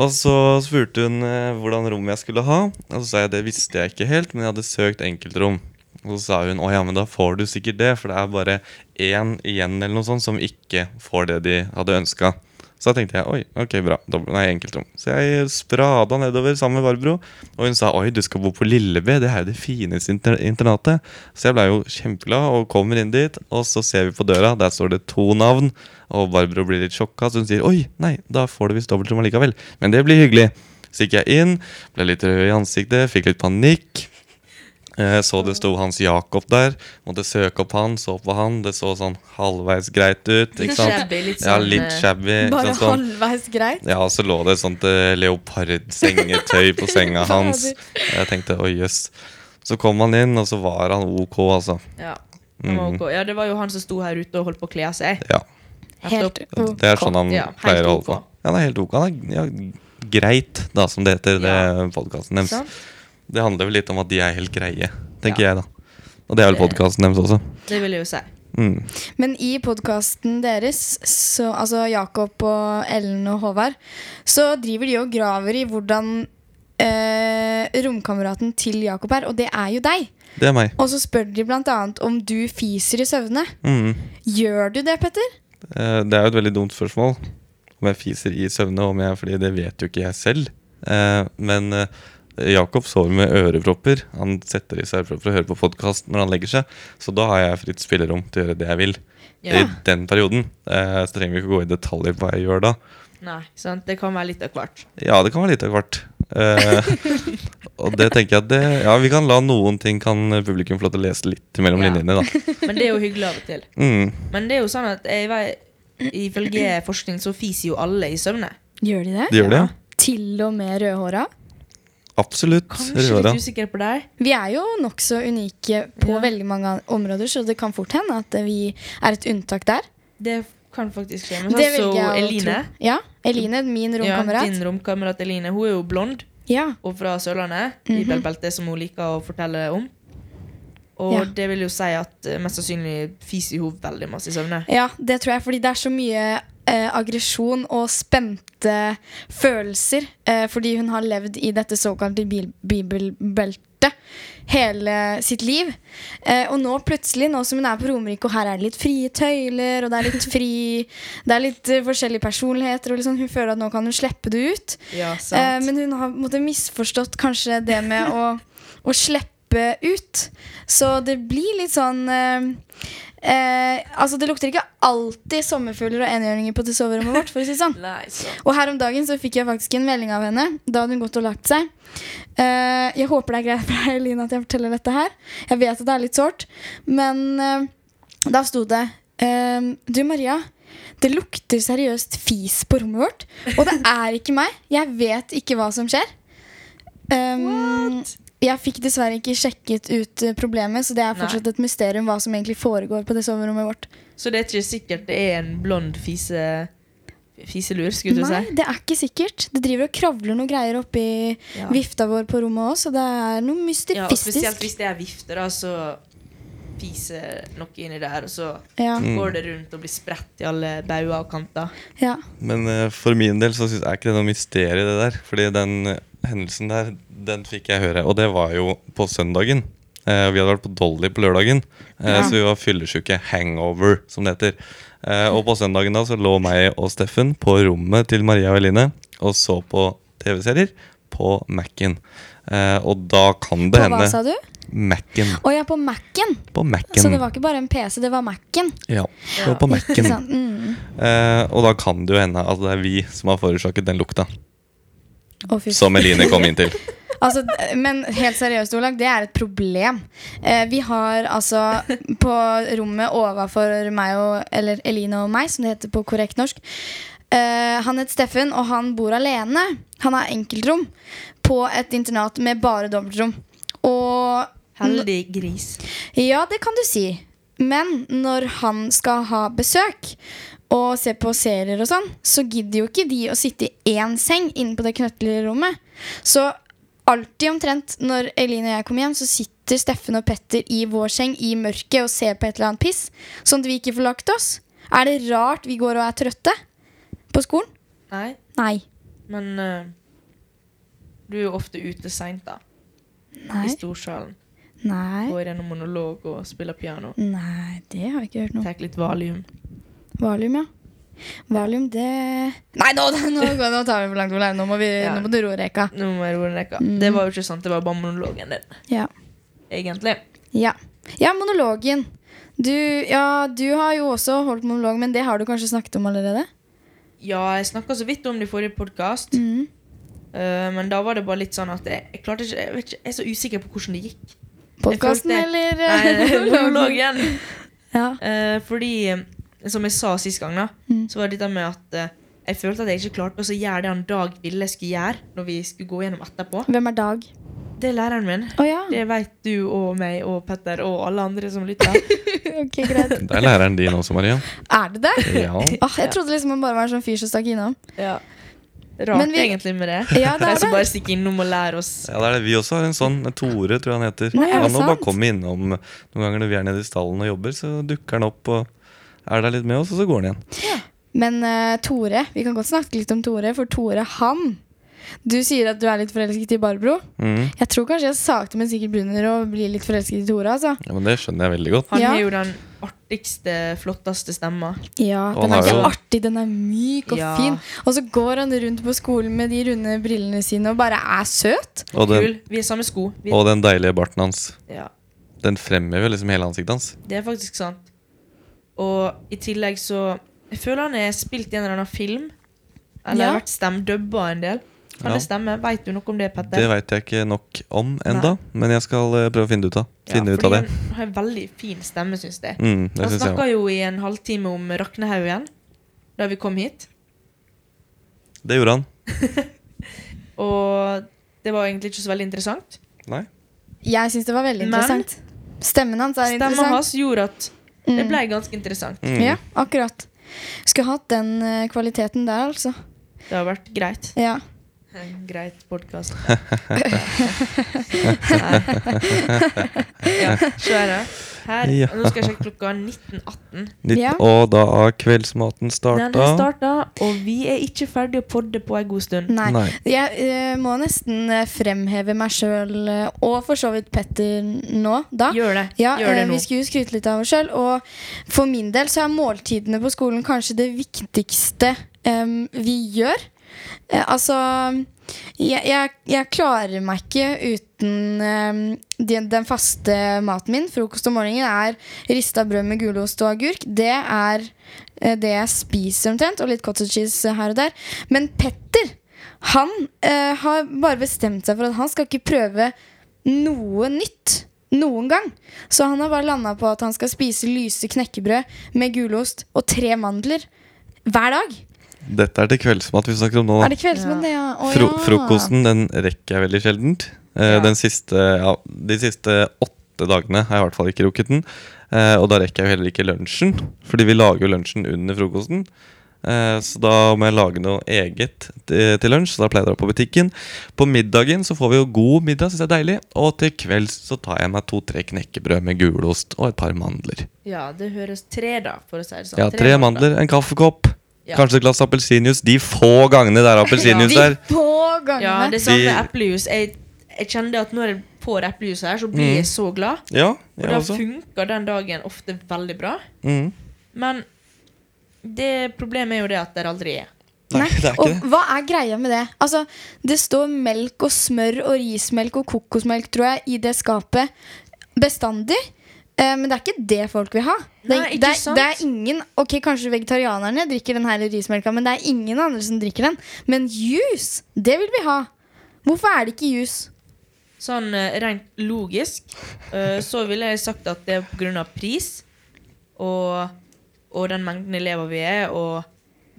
S2: og så spurte hun eh, hvordan rom jeg skulle ha, og så sa jeg det visste jeg ikke helt, men jeg hadde søkt enkeltrom. Og så sa hun 'å ja, men da får du sikkert det', for det er bare én igjen eller noe sånt som ikke får det de hadde ønska. Så da tenkte jeg oi, ok, bra. Dobbel, nei, enkeltrom. Så jeg sprada nedover sammen med Barbro. Og hun sa oi, du skal bo på Lilleby, det er jo det fineste inter internatet. Så jeg blei jo kjempeglad og kommer inn dit, og så ser vi på døra, der står det to navn. Og Barbro blir litt sjokka, så hun sier oi, nei, da får du visst dobbeltrom allikevel. Men det blir hyggelig. Så gikk jeg inn, ble litt rød i ansiktet, fikk litt panikk. Eh, Så det sto Hans Jakob der. Måtte søke opp han, så på han. Det så sånn halvveis greit ut. ikke sant?
S1: Shabby, litt
S2: Ja,
S1: sånn,
S2: litt
S1: eh,
S2: shabby. ikke
S3: Bare
S2: sant, sånn.
S3: halvveis greit.
S2: Ja, og så lå det et sånt eh, leopardsengetøy på senga hans. Jeg tenkte oi, jøss. Så kom han inn, og så var han ok, altså.
S1: Ja. Det var ok. ja, det var jo han som sto her ute og holdt på å kle av seg.
S2: Ja,
S3: Helt
S2: Det er sånn han
S1: Ja, helt
S2: pleier å holde på.
S1: ok.
S2: Ja, det er helt ok. Han er ja, greit, da, som det
S1: Ja.
S2: heter, det podkasten
S1: Sant?
S2: deres. Det handler vel litt om at de er helt greie, tenker
S1: Ja.
S2: jeg, da. Og det er vel
S1: Det-
S2: podkasten deres også.
S1: Det vil jeg jo si.
S2: Mm.
S3: Men i podkasten deres, så, altså Jakob og Ellen og Håvard, så driver de og graver i hvordan eh, romkameraten til Jakob er, og det er jo deg.
S2: Det er meg.
S3: Og så spør de bl.a. om du fiser i søvne.
S2: Mm.
S3: Gjør du det, Petter?
S2: Eh, Det er jo et veldig dumt spørsmål. Om jeg fiser i søvne, om jeg, fordi det vet jo ikke jeg selv. Eh, Men eh, Jakob sover med ørepropper. Han setter i seg ørepropper og hører på podkast når han legger seg. Så da har jeg fritt spillerom til å gjøre det jeg vil.
S1: Ja.
S2: I den perioden. Eh, Så trenger vi ikke gå i detaljer på hva jeg gjør da.
S1: Nei, sant? Det kan være litt av hvert.
S2: Ja, det kan være litt av hvert. Eh, og det tenker jeg at det Ja, vi kan la noen ting kan publikum få lov til å lese litt mellom
S1: Ja.
S2: linjene, da.
S1: Men det er jo hyggelig av og til.
S2: Mm.
S1: Men det er jo sånn at jeg vet, ifølge forskning så fiser jo alle i søvne.
S3: Gjør de det?
S2: De gjør det, ja?
S3: Til og med rødhåra?
S2: Absolutt.
S1: Kanskje
S2: Røra.
S1: litt usikker på deg.
S3: Vi er jo nokså unike på
S1: Ja.
S3: veldig mange an- områder, så det kan fort hende at vi er et unntak der.
S1: Det kan faktisk skje. Men sånn som
S3: å
S1: Eline,
S3: tro. Ja, Eline, min
S1: ja,
S3: romkamerat.
S1: din romkamerat Eline, hun er jo blond
S3: Ja,
S1: og fra Sørlandet.
S3: Mhm.
S1: Bibelbeltet, som hun liker å fortelle om. Og
S3: Ja.
S1: det vil jo si at eh, mest sannsynlig fiser hun veldig masse i søvne.
S3: ja, det tror jeg, fordi det er så mye eh, aggresjon og spente følelser. Eh, fordi hun har levd i dette såkalte bil bibelbeltet hele sitt liv. Eh, og nå plutselig, nå som hun er på Romerike, og her er det litt frie tøyler, og det er litt fri Det er litt eh, forskjellige personligheter, og liksom, hun føler at nå kan hun slippe det ut.
S1: Ja,
S3: Eh,
S1: sant.
S3: men hun har på en måte misforstått kanskje det med å, å slippe ut. Så det blir litt sånn eh, eh, Altså, det lukter ikke alltid sommerfugler og enhjørninger på det soverommet vårt. for å si det sånn.
S1: Nei, sant.
S3: Og her om dagen så fikk jeg faktisk en melding av henne. Da hadde hun gått og lagt seg. Eh, jeg håper det er greit for deg, Eline, at jeg forteller dette her. Jeg vet at det er litt sårt, men eh, da sto det eh, Du, Maria. Det lukter seriøst fis på rommet vårt. Og det er ikke meg. Jeg vet ikke hva som skjer. Um, jeg fikk dessverre ikke sjekket ut eh, problemet, så det er
S1: Nei.
S3: fortsatt et mysterium hva som egentlig foregår på det soverommet vårt.
S1: Så det er ikke sikkert det er en blond fise, fiselur, skulle du
S3: Nei,
S1: si.
S3: det er ikke sikkert. Det driver og kravler noe greier oppi
S1: Ja.
S3: vifta vår på rommet òg, så det er noe
S1: Ja, og
S3: mystifistisk.
S1: spesielt hvis det er vifter, da, så fiser noe inni der, og så
S3: Ja,
S1: går det rundt og blir spredt i alle bauger og kanter.
S3: ja.
S2: Men eh, for min del så synes, er ikke det noe mysterium, det der. Fordi den eh, hendelsen der, den fikk jeg høre. Og det var jo på søndagen. Eh, vi hadde vært på Dolly på lørdagen, eh,
S3: Ja.
S2: så vi var fyllesyke. Hangover, som det heter. Eh, og på søndagen da så lå meg og Steffen på rommet til Maria og Eline og så på TV-serier på Mac-en. Eh, og da kan det
S3: På hva
S2: hende
S3: sa du?
S2: Mac-en.
S3: Å ja, på Mac-en!
S2: På
S3: Så det
S2: Mac-en.
S3: var ikke bare en PC, det var Mac-en.
S2: Ja, det var på
S3: Ikke
S2: Mac-en.
S3: sant? Mm.
S2: Eh, og da kan det jo hende at det er vi som har forårsaket den lukta.
S3: Å, fy
S2: Som Eline kom inn til.
S3: Altså, d- men helt seriøst, Olag, det er et problem. Eh, vi har altså på rommet overfor meg og Eller Eline og meg, som det heter på korrekt norsk. eh, han het Steffen, og han bor alene. Han har enkeltrom på et internat med bare dobbeltrom. Og
S1: Heldig gris.
S3: ja, det kan du si. Men når han skal ha besøk og se på serier og sånn, så gidder jo ikke de å sitte i én seng inne på det knøttlille rommet. Så alltid omtrent når Eileen og jeg kommer hjem, så sitter Steffen og Petter i vår seng i mørket og ser på et eller annet piss, sånn at vi ikke får lagt oss. Er det rart vi går og er trøtte på skolen?
S1: Nei,
S3: Nei.
S1: men eh, du er jo ofte ute seint, da. I
S3: Nei.
S1: storsalen.
S3: Nei.
S1: Går gjennom monolog og spiller piano.
S3: Nei, det har jeg ikke hørt noe om.
S1: Tar litt valium.
S3: Valium, ja. Valium, det Nei, nå, nå, nå tar vi for langt. Olaug. Nå må, vi,
S1: Ja.
S3: nå må du roe reka.
S1: Nå må jeg roe ned.
S3: Mm.
S1: Det var jo ikke sant, det var bare monologen din,
S3: Ja.
S1: egentlig.
S3: ja. Ja, monologen. Du, ja, du har jo også holdt monolog, men det har du kanskje snakket om allerede?
S1: Ja, jeg snakka så vidt om det i forrige podkast,
S3: Mm.
S1: men da var det bare litt sånn at jeg, jeg klarte ikke Jeg, vet ikke, jeg er så usikker på hvordan det gikk.
S3: Podkasten
S1: Jeg
S3: eller eh,
S1: Nei,
S3: monologen?
S1: monologen.
S3: Ja.
S1: Eh, fordi, eh, som jeg sa sist gang, da,
S3: Mm.
S1: så var det dette med at eh, jeg følte at jeg ikke klarte å så gjøre det han Dag ville jeg skulle gjøre, når vi skulle gå gjennom etterpå.
S3: Hvem er Dag?
S1: Det er læreren min.
S3: Å ja.
S1: Det vet du og meg og Petter og alle andre som lytter.
S3: Ok, greit.
S2: Det er læreren din også, Maria.
S3: Er det det?
S2: Ja.
S3: Åh, jeg trodde liksom han bare var en sånn fyr som stakk innom.
S1: Ja. Rart
S3: Men vi-
S1: egentlig med det.
S3: Ja, det
S1: De
S3: er
S1: som
S3: det.
S1: bare stikker innom og lærer oss.
S2: Ja, det er det. Vi også har en sånn. en Tore, tror jeg han heter.
S3: Nei, er det
S2: han må bare
S3: sant?
S2: komme innom noen ganger når vi er nede i stallen og jobber, så dukker han opp og er der litt med oss, og så går han igjen.
S3: Men eh, Tore, vi kan godt snakke litt om Tore, for Tore, han Du sier at du er litt forelsket i Barbro.
S2: Mm.
S3: Jeg tror kanskje jeg sakte, men sikkert begynner å bli litt forelsket i Tore. altså.
S2: Ja, men Det skjønner jeg veldig godt.
S1: Han
S3: Ja.
S1: har jo den artigste, flotteste stemma.
S3: Ja,
S2: Og han
S3: Den er
S2: er
S3: ikke
S2: jo-
S3: artig, den er myk og
S1: Ja.
S3: fin. Og så går han rundt på skolen med de runde brillene sine og bare er søt.
S2: Og den,
S1: Kul. Vi er samme sko. Vi,
S2: og den deilige barten hans.
S1: ja,
S2: Den fremhever liksom hele ansiktet hans.
S1: det er faktisk sant. Og i tillegg så Jeg føler han er spilt i en eller annen film. Eller
S3: Ja.
S1: har vært stemdubba en del. Kan
S2: Ja.
S1: det stemme? Veit du noe om det, Petter?
S2: Det veit jeg ikke nok om enda, men jeg skal eh, prøve å finne ut av, finne ut av det.
S1: Han har en veldig fin stemme, syns jeg.
S2: Mm, det
S1: Han
S2: synes jeg
S1: snakka
S2: også.
S1: jo i en halvtime om Raknehaugen da vi kom hit.
S2: Det gjorde han.
S1: Og det var egentlig ikke så veldig interessant.
S2: Nei.
S3: Jeg syns det var veldig
S1: Men-
S3: interessant. Stemmen hans er
S1: Stemma
S3: interessant.
S1: hans gjorde at det ble ganske interessant.
S2: Mm.
S3: Ja, akkurat. Skulle hatt den eh, kvaliteten der, altså.
S1: Det har vært greit.
S3: Ja.
S1: En greit podkast. ja, kjør da. Her.
S2: Ja.
S1: Nå skal jeg sjekke klokka 19.18.
S2: Litt,
S3: Ja.
S2: Og da har
S1: Den
S2: kveldsmaten
S1: har
S2: starta.
S1: starta, og vi er ikke ferdig å podde på en god stund.
S3: Nei.
S2: Nei.
S3: Jeg eh, må nesten eh, fremheve meg sjøl, og for så vidt Petter nå, da.
S1: Gjør det.
S3: Ja,
S1: Gjør det
S3: eh,
S1: nå.
S3: Vi skulle jo skryte litt av oss sjøl. Og for min del så er måltidene på skolen kanskje det viktigste em, vi gjør. Eh, altså jeg, jeg, jeg klarer meg ikke uten em, den, den faste maten min. Frokost om morgenen er rista brød med gulost og agurk. Det er eh, det jeg spiser omtrent. Og litt cottage cheese her og der. Men Petter, han eh, har bare bestemt seg for at han skal ikke prøve noe nytt noen gang. Så han har bare landa på at han skal spise lyse knekkebrød med gulost og tre mandler hver dag.
S2: Dette er til kveldsmat vi snakker om nå.
S3: Er
S2: Da.
S3: det kveldsmat, det? Ja. Å,
S2: Fro
S3: ja.
S2: frokosten den rekker jeg veldig sjeldent. Eh,
S1: Ja.
S2: Den siste, ja, de siste åtte dagene har jeg i hvert fall ikke rukket den. Eh, og da rekker jeg jo heller ikke lunsjen, fordi vi lager jo lunsjen under frokosten. Eh, så da må jeg lage noe eget til til lunsj, så da pleier jeg å dra på butikken. På middagen så får vi jo god middag, syns jeg er deilig. Og til kvelds så tar jeg meg to-tre knekkebrød med gulost og et par mandler.
S1: Ja, det høres tre, da, for å si det sånn.
S2: Ja, tre mandler, en kaffekopp,
S1: Ja.
S2: kanskje et glass appelsinjuice. De få gangene det er appelsinjuice
S3: De
S2: der.
S3: få
S1: Ja,
S3: gangene.
S1: det samme
S2: De-
S1: med eplejus. Jeg, jeg kjenner at når jeg får eplejus her, så blir jeg så glad.
S2: Mm. Ja,
S1: Og
S2: jeg
S1: da
S2: også.
S1: funker den dagen ofte veldig bra.
S2: Mm.
S1: Men det problemet er jo det at det aldri er.
S2: Nei, det er ikke
S3: og
S2: det.
S3: hva er greia med det? Altså, Det står melk og smør og rismelk og kokosmelk tror jeg, i det skapet bestandig. Eh, men det er ikke det folk vil ha. Det,
S1: Nei, ikke
S3: det, er,
S1: sant?
S3: det er ingen, ok, Kanskje vegetarianerne drikker den her rismelka, men det er ingen andre som drikker den. Men juice, det vil vi ha. Hvorfor er det ikke juice?
S1: Sånn eh, rent logisk eh, så ville jeg sagt at det er pga. pris og, og den mengden elever vi er, og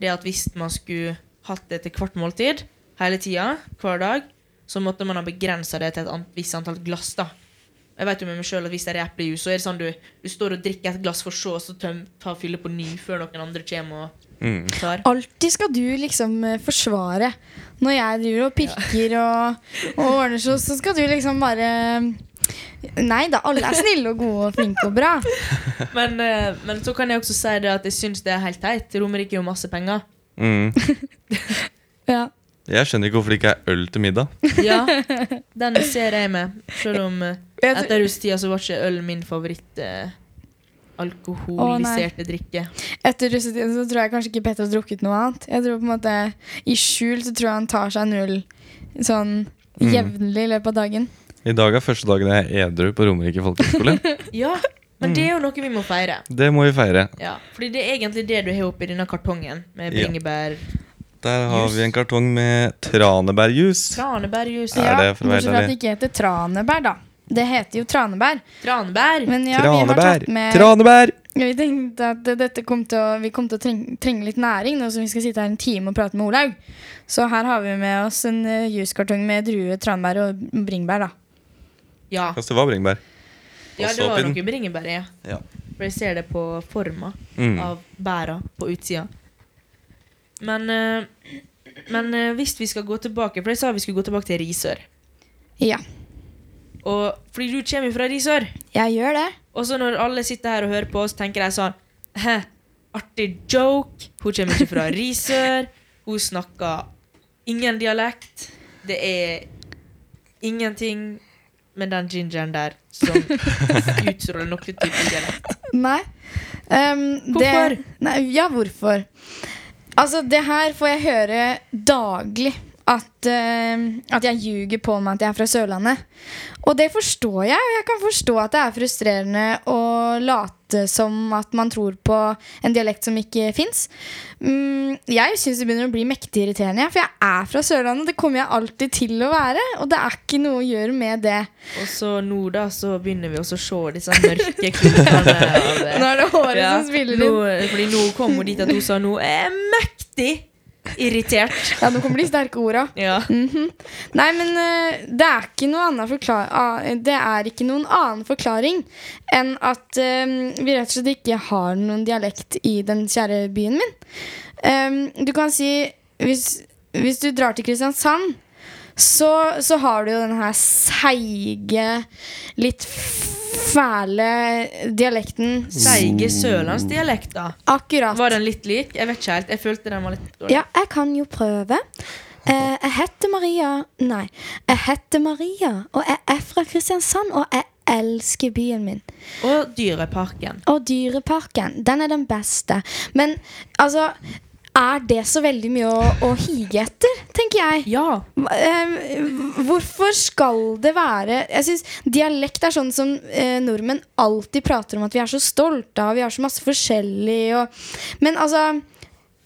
S1: det at hvis man skulle hatt det til hvert måltid hele tida, hver dag, så måtte man ha begrensa det til et an- visst antall glass. da. Eh, Jeg vet jo med meg selv at Hvis det er eplejus, så er det sånn du, du står og drikker et glass for så, og så tøm, ta fylle på ny før noen andre kommer og
S2: Mm.
S1: tar.
S3: Alltid skal du liksom eh, forsvare. Når jeg driver og pirker og, og ordner så, så skal du liksom bare Nei da, alle er snille og gode og flinke og bra.
S1: Men, eh, men så kan jeg også si det at jeg syns det er helt teit. Romerike er jo masse penger.
S2: Mm.
S3: Ja.
S2: Jeg skjønner ikke hvorfor det ikke er øl til middag.
S1: Ja, den ser jeg med. Selv om eh,
S3: Jeg tror-
S1: etter russetida så var ikke øl min favoritt eh, alkoholiserte drikke.
S3: Etter russetiden så tror jeg kanskje ikke Petter har drukket noe annet. Jeg tror på en måte I skjul så tror jeg han tar seg en øl sånn
S2: Mm.
S3: jevnlig i løpet av dagen.
S2: I dag er første dagen jeg er edru på Romerike folkehøgskole.
S1: Ja,
S3: Mm.
S1: men det er jo noe vi må feire.
S2: Det må vi feire.
S1: Ja, fordi det er egentlig det du har oppi denne kartongen med
S2: Ja.
S1: bringebær,
S2: Der har
S1: Jus.
S2: vi en kartong med tranebærjus.
S1: tranebærjus
S2: Er det for å være
S3: Bortsett fra at
S2: ærlig?
S3: det ikke heter tranebær, da. Det heter jo tranebær.
S1: Tranbær!
S3: Men ja, vi har
S2: Tranebær!
S3: tatt med
S2: Tranebær!
S3: Vi tenkte at dette kom til å, vi kom til å trenge, trenge litt næring nå som vi skal sitte her en time og prate med Olaug. Så her har vi med oss en eh, juskartong med drue, tranbær og bringebær. da.
S1: Ja,
S2: Altså, det var bringebær.
S1: ja
S2: Og
S1: det var
S2: såpen.
S1: noe bringebær i. ja.
S2: Ja.
S1: For jeg ser det på forma
S2: Mm.
S1: av bæra på utsida. Men, eh, men eh, hvis vi skal gå tilbake For jeg sa vi skulle gå tilbake til Risør.
S3: Ja,
S1: Og, fordi du kommer jo fra Risør.
S3: jeg gjør det.
S1: Og så når alle sitter her og hører på oss, tenker de sånn Hæ, artig joke. Hun kommer ikke fra Risør. Hun snakker ingen dialekt. Det er ingenting med den gingeren der som utstråler noen type dialekt.
S3: Nei. Ehm, det-
S1: Hvorfor?
S3: Nei, ja, hvorfor? Altså, det her får jeg høre daglig. At, ehm, at jeg ljuger på meg at jeg er fra Sørlandet. Og det forstår jeg. Og jeg kan forstå at det er frustrerende å late som at man tror på en dialekt som ikke fins. Mm, jeg syns det begynner å bli mektig irriterende, jeg, for jeg er fra Sørlandet. Det kommer jeg alltid til å være. Og det er ikke noe å gjøre med det.
S1: Og så nå, da, så begynner vi også å se disse mørke klippene av
S3: Nå er det håret som spiller
S1: nå,
S3: inn.
S1: Fordi nå kom hun dit at hun sa noe er mektig irritert.
S3: Ja, nå kommer de sterke orda.
S1: Ja.
S3: Mhm. Nei, men eh, det er ikke noe annet forklar ah, Det er ikke noen annen forklaring enn at eh, vi rett og slett ikke har noen dialekt i den kjære byen min. Eh, du kan si hvis, hvis du drar til Kristiansand, så, så har du jo den her seige, litt fæle dialekten.
S1: Seige
S2: Mm.
S1: sørlandsdialekter.
S3: Akkurat.
S1: Var den litt lik? Jeg vet ikke helt. Jeg følte den var litt dårlig.
S3: Ja, jeg kan jo prøve. Eh, jeg heter Maria Nei, jeg heter Maria, og jeg er fra Kristiansand, og jeg elsker byen min.
S1: Og Dyreparken.
S3: Og Dyreparken, den er den beste. Men altså Er det så veldig mye å, å hige etter, tenker jeg?
S1: Ja.
S3: Eh, hvorfor skal det være Jeg synes Dialekt er sånn som eh, nordmenn alltid prater om at vi er så stolte av. Vi har så masse forskjellig. Og, men altså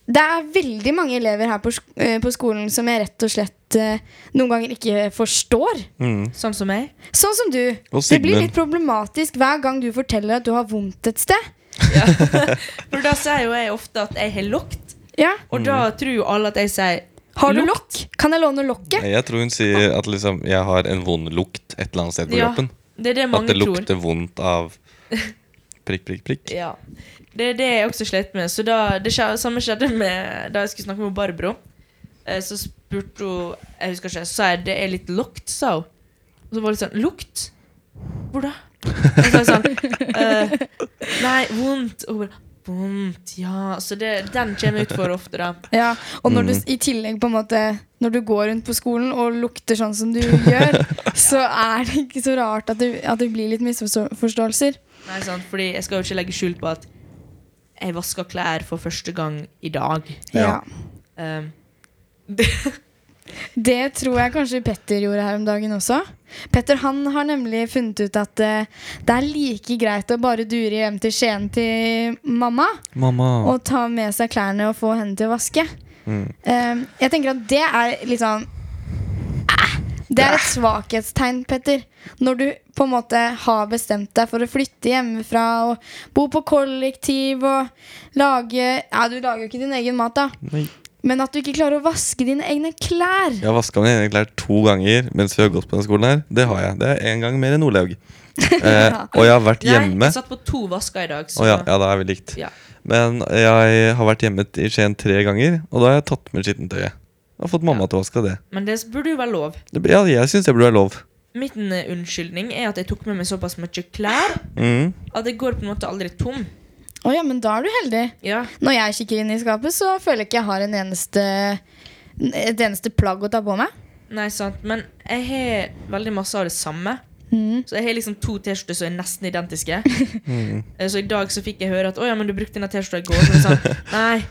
S3: Det er veldig mange elever her på, sk- eh, på skolen som jeg rett og slett eh, noen ganger ikke forstår.
S2: Mm.
S1: Sånn som meg.
S3: Sånn som du.
S2: Og
S3: Det blir
S2: Sigmund.
S3: litt problematisk hver gang du forteller at du har vondt et sted.
S1: For da sier jo jeg ofte at jeg har lokt,
S3: Ja.
S1: og da
S2: Mm.
S1: tror jo alle at jeg sier
S3: Har du
S1: Lukt.
S3: lokk? Kan jeg låne lokket?
S2: Nei, Jeg tror hun sier at liksom, jeg har en vond lukt et eller annet sted på
S1: Ja,
S2: kroppen.
S1: det er det
S2: At
S1: mange
S2: det
S1: tror.
S2: lukter vondt av prikk, prikk, prikk.
S1: Ja. Det er det jeg også slet med. Så da, det skje- samme skjedde med da jeg skulle snakke med Barbro. Eh, Så spurte hun Jeg husker ikke, så sa jeg det er litt lukt, sa hun. Og så var det litt sånn Lukt? Hvor da? Og så sa jeg sånn eh, Nei, vondt. Og hun bare Vondt, ja. Så det, den kommer ut for ofte, da.
S3: Ja, Og når du s- i tillegg på en måte Når du går rundt på skolen og lukter sånn som du gjør, så er det ikke så rart at det, at det blir litt misforståelser.
S1: Nei, sant, fordi jeg skal jo ikke legge skjul på at jeg vasker klær for første gang i dag.
S2: Ja.
S1: Um,
S3: Det tror jeg kanskje Petter gjorde her om dagen også. Petter han har nemlig funnet ut at eh, det er like greit å bare dure hjem til Skien til mamma
S2: Mamma.
S3: og ta med seg klærne og få henne til å vaske.
S2: Mm.
S3: Eh, jeg tenker at det er litt sånn Ah! Det er et svakhetstegn, Petter. Når du på en måte har bestemt deg for å flytte hjemmefra og bo på kollektiv og lage Ja, du lager jo ikke din egen mat, da,
S2: Nei.
S3: men at du ikke klarer å vaske dine egne klær.
S2: Jeg har vaska mine egne klær to ganger mens vi har gått på denne skolen. her Det har jeg. Det er én gang mer enn Olaug. Eh, og jeg har vært hjemme.
S1: Jeg satt på to vasker i dag, så
S2: Å ja, ja, da er vi likt.
S1: Ja.
S2: Men jeg har vært hjemme i Skien tre ganger, og da har jeg tatt med skittentøyet. Jeg har fått mamma til å vaske det.
S1: Men det burde jo være lov.
S2: det blir- ja, jeg syns det burde være lov.
S1: Min eh, unnskyldning er at jeg tok med meg såpass mye klær
S2: Mm.
S1: at jeg går på en måte aldri tom.
S3: Å ja, men da er du heldig.
S1: Ja,
S3: Når jeg kikker inn i skapet, så føler jeg ikke jeg har en eneste, et eneste plagg å ta på meg.
S1: nei sant Men jeg har veldig masse av det samme.
S3: Mm.
S1: Så jeg har liksom to T-skjorter som er nesten identiske. Eh, Så i dag så fikk jeg høre at 'Å ja, men du brukte denne T-skjorta i går'. Så jeg sa nei,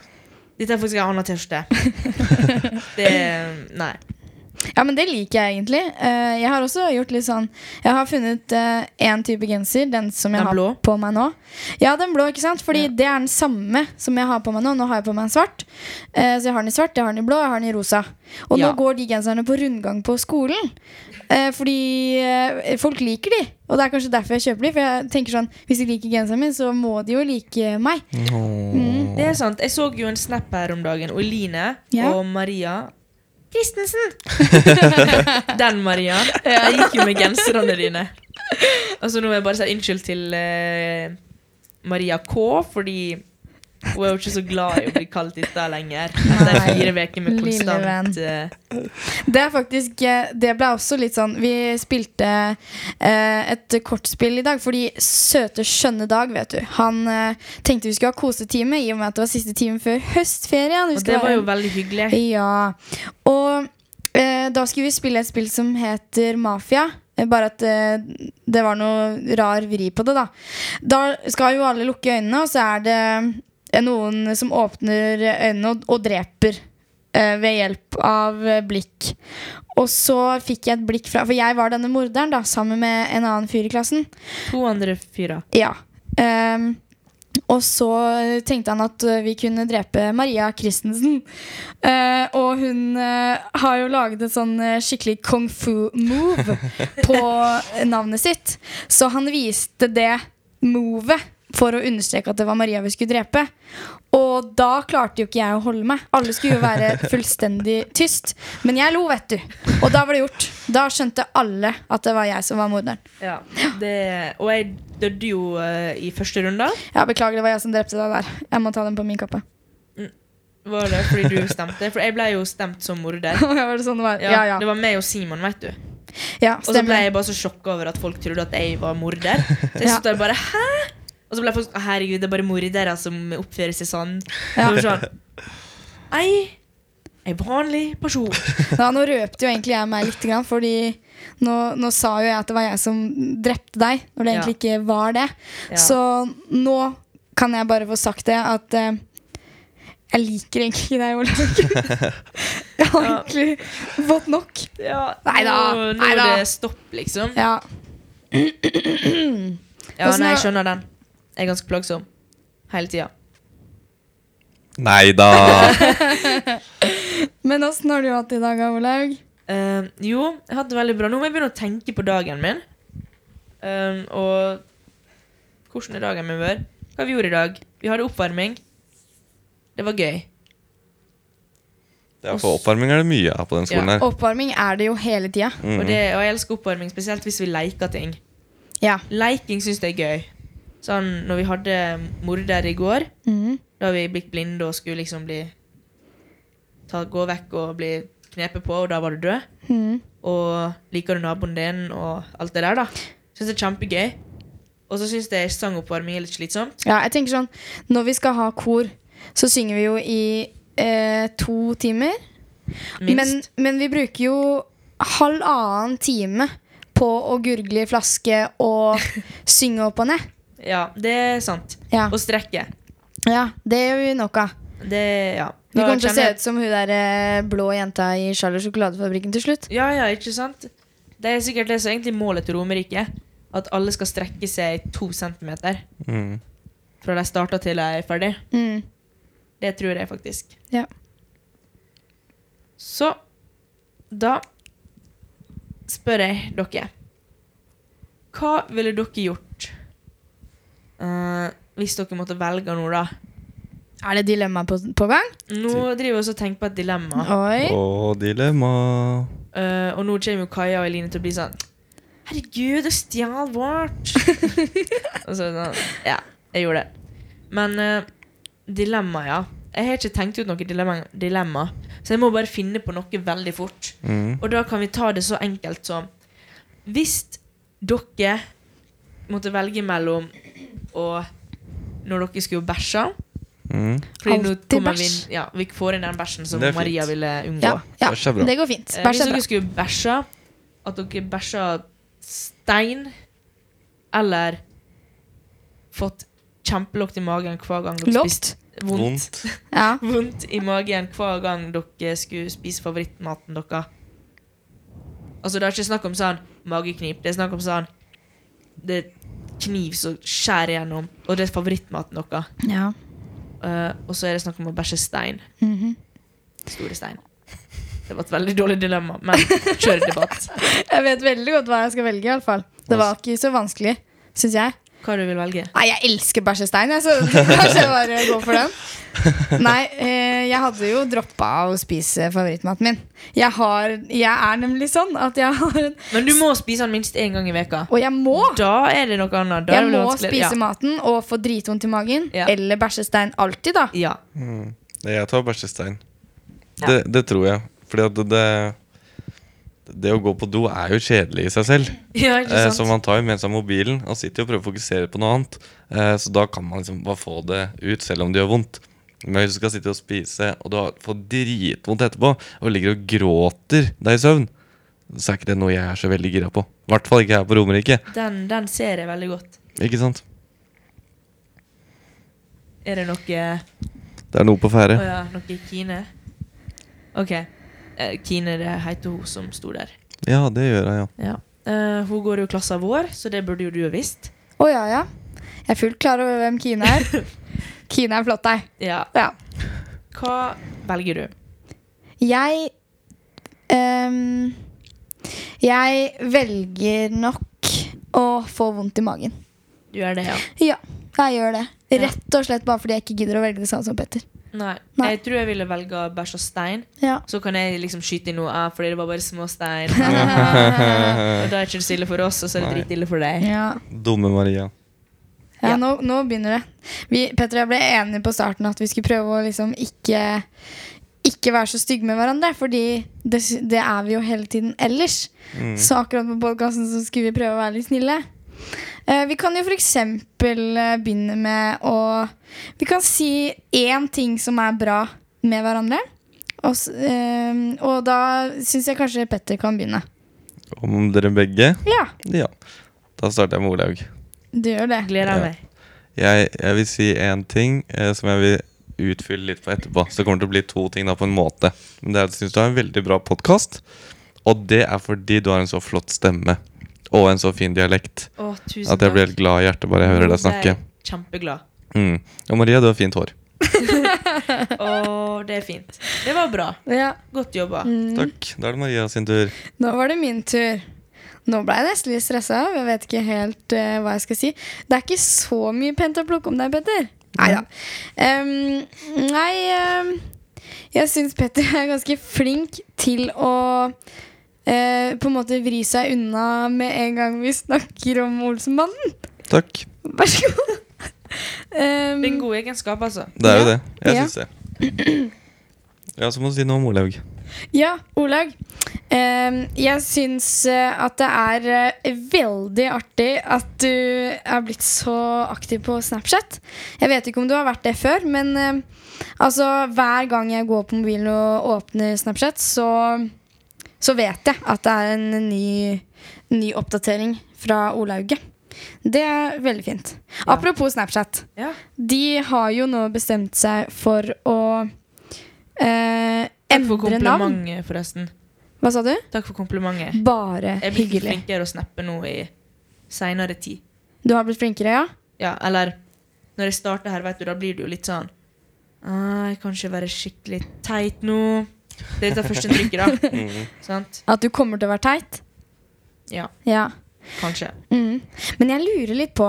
S1: dette er faktisk en annen T-skjorte. Det Nei.
S3: Ja, men det liker jeg egentlig. Eh, jeg har også gjort litt sånn Jeg har funnet én type genser, den som jeg
S1: Den
S3: har
S1: blå?
S3: på meg nå. Ja, den blå, ikke sant? Fordi
S1: Ja.
S3: det er den samme som jeg har på meg nå. Nå har jeg på meg en svart. Eh, så jeg har den i svart, jeg har den i blå, jeg har den i rosa. Og
S1: Ja.
S3: nå går de genserne på rundgang på skolen. Eh, fordi eh, folk liker de. Og det er kanskje derfor jeg kjøper de. For jeg tenker sånn, hvis de liker genseren min, så må de jo like meg.
S1: Mm, Det er sant. Jeg så jo en snap her om dagen. Og Line
S3: Ja.
S1: og Maria Christensen. Den Maria. Jeg gikk jo med genserne dine. Altså Nå må jeg bare si unnskyld til eh, Maria K, fordi hun er jo ikke så glad i å bli kalt dette lenger. Etter
S3: Nei.
S1: fire uker med
S3: Lille
S1: konstant eh,
S3: Det er faktisk eh, Det ble også litt sånn Vi spilte eh, et kortspill i dag, fordi søte, skjønne Dag, vet du, han eh, tenkte vi skulle ha kosetime i og med at det var siste time før høstferien. Vi
S1: Og
S3: skulle
S1: det
S3: ha
S1: var jo
S3: en-
S1: veldig hyggelig.
S3: Ja. Og eh, da skulle vi spille et spill som heter Mafia. eh, Bare at eh, det var noe rar vri på det, da. Da skal jo alle lukke øynene, og så er det eh, noen som åpner øynene og, og dreper. eh, Ved hjelp av eh, blikk. Og så fikk jeg et blikk fra For jeg var denne morderen, da, sammen med en annen fyr i klassen.
S1: To andre fyrer.
S3: Ja. Ehm, og så tenkte han at eh, vi kunne drepe Maria Christensen. Eh, og hun eh, har jo laget en sånn eh, skikkelig kung fu-move på navnet sitt. Så han viste det movet for å understreke at det var Maria vi skulle drepe. Og da klarte jo ikke jeg å holde meg. Alle skulle jo være fullstendig tyst. Men jeg lo, vet du. Og da var det gjort. Da skjønte alle at det var jeg som var morderen.
S1: Ja. Det, og jeg døde jo eh, i første runde.
S3: Ja, Beklager, det var jeg som drepte deg der. Jeg må ta den på min kappe.
S1: Var det fordi du stemte? For jeg ble jo stemt som morder.
S3: var det sånn det var? Ja, ja.
S1: Det var meg og Simon, vet du.
S3: ja
S1: Og så ble
S3: stemmer.
S1: jeg bare så sjokka over at folk trodde at jeg var morder. Så jeg
S3: Ja.
S1: stod der bare hæ? Og så ble folk sånn herregud, det er bare mordere som oppfører seg sånn.
S3: Ja.
S1: Og sånn Jeg er vanlig person.
S3: Ja, nå røpte jo egentlig jeg meg litt, grann, fordi nå, nå sa jo jeg at det var jeg som drepte deg, når det
S1: Ja.
S3: egentlig ikke var det.
S1: Ja.
S3: Så nå kan jeg bare få sagt det at eh, jeg liker egentlig ikke deg, Olaug. jeg har
S1: Ja.
S3: egentlig fått nok.
S1: Ja,
S3: Neida,
S1: Nå, nå er
S3: neida.
S1: det stopp, liksom.
S3: Ja.
S1: Ja,
S3: Åssen
S1: nei,
S3: er-
S1: jeg skjønner den. Jeg er ganske plagsom. Hele tida.
S2: Nei da!
S3: Men åssen har du hatt det i dag, Olaug?
S1: Eh, jo, jeg har hatt det veldig bra. Nå må jeg begynne å tenke på dagen min. Eh, og hvordan er dagen min vår? Hva vi gjorde i dag? Vi hadde oppvarming. Det var gøy.
S2: Det er for oppvarming er det mye av på den skolen her.
S3: Oppvarming er det jo hele tida.
S2: Mm.
S1: Og, det, og jeg elsker oppvarming, spesielt hvis vi leker ting.
S3: Ja.
S1: Leking syns jeg er gøy. Sånn når vi hadde morder i går,
S3: Mhm.
S1: da vi blitt blinde og skulle liksom bli ta, Gå vekk og bli knepet på, og da var du død.
S3: Mhm.
S1: Og liker du naboen din og alt det der, da. Syns det er kjempegøy. Og så syns jeg sangoppvarming er litt slitsomt.
S3: Ja, jeg tenker sånn Når vi skal ha kor, så synger vi jo i eh, to timer. Men,
S1: Minst.
S3: men vi bruker jo halvannen time på å gurgle i flaske og synge opp og ned.
S1: ja, det er sant.
S3: Ja,
S1: Og strekke.
S3: ja det gjør vi nok av.
S1: Det, ja.
S3: Vi
S1: Da
S3: kommer til å se
S1: kjenner jeg-
S3: ut som hun der eh, blå jenta i Charlie sjokoladefabrikken til slutt.
S1: Ja, ja, ikke sant? Det er sikkert det som er egentlig målet til Romerike. At alle skal strekke seg to centimeter
S2: Mm.
S1: fra de starter til de er ferdig.
S3: Mm.
S1: Det tror jeg faktisk.
S3: Ja.
S1: Så da spør jeg dere. Hva ville dere gjort eh, hvis dere måtte velge nå, da?
S3: Er det dilemma på, på gang?
S1: Nå driver vi også og tenker på et dilemma.
S3: Oi.
S2: Og dilemma
S1: Eh, og nå kommer jo Kaja og Eline til å bli sånn 'Herregud, du stjal vårt!' og så sånn Ja, jeg gjorde det. Men eh, dilemma, ja. Jeg har ikke tenkt ut noe dilemma, dilemma, så jeg må bare finne på noe veldig fort.
S2: Mm.
S1: Og da kan vi ta det så enkelt som Hvis dere måtte velge mellom å Når dere skulle bæsje
S2: Mm.
S1: fordi nå
S3: Alltid
S1: kommer vi,
S3: bæsj.
S1: inn- ja, vi får inn den bæsjen som
S2: Det er fint.
S1: Maria ville unngå.
S3: Ja, ja.
S2: Bæsj er bra.
S3: Det går fint.
S1: Eh,
S3: Bæsj
S1: hvis
S3: er bra.
S1: dere skulle bæsje, at dere bæsja stein, eller fått kjempelukt i magen hver gang dere
S3: Lukt?
S1: spiste vondt.
S2: Vondt.
S3: Ja.
S1: vondt i magen hver gang dere skulle spise favorittmaten deres. Altså, det er ikke snakk om sånn mageknip. Det er snakk om sånn Det er kniv som skjærer gjennom, og det er favorittmaten deres.
S3: ja.
S1: Eh, og så er det snakk om å bæsje stein.
S3: Mhm.
S1: Store stein. Det var et veldig dårlig dilemma, men kjør debatt.
S3: Jeg vet veldig godt hva jeg skal velge, i alle fall. Det var ikke så vanskelig, syns jeg.
S1: Hva du vil velge?
S3: Nei, jeg elsker bæsjestein, jeg, så kanskje jeg bare går for den. Nei, eh, jeg hadde jo droppa å spise favorittmaten min. Jeg, har, jeg er nemlig sånn at jeg har en
S1: Men du må spise den minst én gang i veka.
S3: Og jeg må!
S1: Da er det noe annet. Da
S3: Jeg
S1: er det
S3: må
S1: vanskelig.
S3: spise maten og få dritvondt i magen.
S1: Ja.
S3: Eller bæsjestein alltid, da.
S1: ja. ja.
S2: Mm. Nei, Jeg tar bæsjestein.
S1: Ja.
S2: Det, det tror jeg. Fordi at det, det Det å gå på do er jo kjedelig i seg selv.
S1: ja,
S2: Eh,
S1: ikke
S2: så
S1: sant?
S2: man tar jo med seg mobilen og sitter jo og prøver å fokusere på noe annet. Eh, så da kan man liksom bare få det ut, selv om det gjør vondt. Men hvis du skal sitte og spise, og du har- får dritvondt etterpå, og ligger og gråter deg i søvn, så er ikke det noe jeg er så veldig gira på. I hvert fall ikke her på Romerike.
S1: Den, den ser jeg veldig godt.
S2: Ikke sant?
S1: Er det noe
S2: Det er noe på ferde.
S1: Å ja, noe Kine? OK. Eh, Kine, det heter hun som sto der.
S2: Ja, det gjør jeg, ja.
S1: Ja. Eh, hun går jo i klassen vår, så det burde jo du ha visst.
S3: Å ja, ja. Jeg er fullt klar over hvem Kine er. Kine er flott, deg.
S1: Ja.
S3: Ja.
S1: Hva velger du?
S3: Jeg ehm, Jeg velger nok å få vondt i magen.
S1: Du gjør det, ja.
S3: Ja, jeg gjør det.
S1: Ja.
S3: Rett og slett bare fordi jeg ikke gidder å velge det samme som Petter.
S1: Nei.
S3: Nei.
S1: Jeg tror jeg ville velge bæsj og stein.
S3: Ja.
S1: Så kan jeg liksom skyte inn noe ah, fordi det var bare små stein. Og da er ikke det så ille for oss, og så er det
S2: Nei.
S1: dritille for deg.
S3: Ja,
S2: Dumme Maria.
S1: Ja.
S3: Nå, nå begynner det. Vi, Petter og jeg ble enige på starten at vi skulle prøve å liksom ikke ikke være så stygge med hverandre, fordi det, s- det er vi jo hele tiden ellers.
S2: Mm.
S3: Så akkurat på podkasten så skulle vi prøve å være litt snille. Eh, vi kan jo f.eks. Uh, begynne med å Vi kan si én ting som er bra med hverandre. Og, s- eh, og da syns jeg kanskje Petter kan begynne.
S2: Om dere begge?
S3: Ja,
S2: Ja. Da starter jeg med Olaug.
S3: du gjør det.
S1: Gleder
S2: Ja.
S1: meg.
S2: Jeg, jeg vil si én ting eh, som jeg vil utfylle litt på etterpå. Så det kommer til å bli to ting da på en måte. Men det er at jeg syns du har en veldig bra podkast. Og det er fordi du har en så flott stemme og en så fin dialekt
S1: Å, tusen
S2: at jeg blir helt glad i hjertet bare jeg hører deg snakke.
S1: Kjempeglad.
S2: Mm. Og Maria, du har fint hår.
S1: Å, det er fint. Det var bra.
S3: Ja.
S1: Godt jobba.
S3: Mm.
S2: Takk. Da er det Maria sin tur.
S3: Nå var det min tur. Nå ble jeg nesten litt stressa. Jeg vet ikke helt eh, hva jeg skal si. Det er ikke så mye pent å plukke om deg, Petter. Neida. Em, nei em, Jeg syns Petter er ganske flink til å eh, på en måte vri seg unna med en gang vi snakker om Olsenbanden.
S2: Takk.
S3: Vær så god. Em,
S1: Det er en god egenskap, altså.
S2: Det er jo
S3: Ja.
S2: det. Jeg
S3: Ja.
S2: syns det. Ja, så må du si noe om Olaug.
S3: Ja, Olaug. Em, jeg syns eh, at det er eh, veldig artig at du er blitt så aktiv på Snapchat. Jeg vet ikke om du har vært det før, men eh, altså, hver gang jeg går på mobilen og åpner Snapchat, så, så vet jeg at det er en ny, ny oppdatering fra Olauget. Det er veldig fint.
S1: Ja.
S3: Apropos Snapchat.
S1: Ja.
S3: De har jo nå bestemt seg for å eh,
S1: Takk for
S3: endre navn.
S1: komplimentet, forresten.
S3: Hva sa du?
S1: Takk for komplimentet.
S3: Bare
S1: Jeg blir
S3: hyggelig.
S1: flinkere å snappe nå i seinere tid.
S3: Du har blitt flinkere, ja?
S1: Ja, eller når jeg starter her, vet du, da blir du jo litt sånn «Ah, Jeg kan ikke være skikkelig teit nå. Det er dette første trykket, da.
S3: Mm.
S1: Sant?
S3: At du kommer til å være teit?
S1: Ja,
S3: Ja.
S1: kanskje.
S3: Mm. Men jeg lurer litt på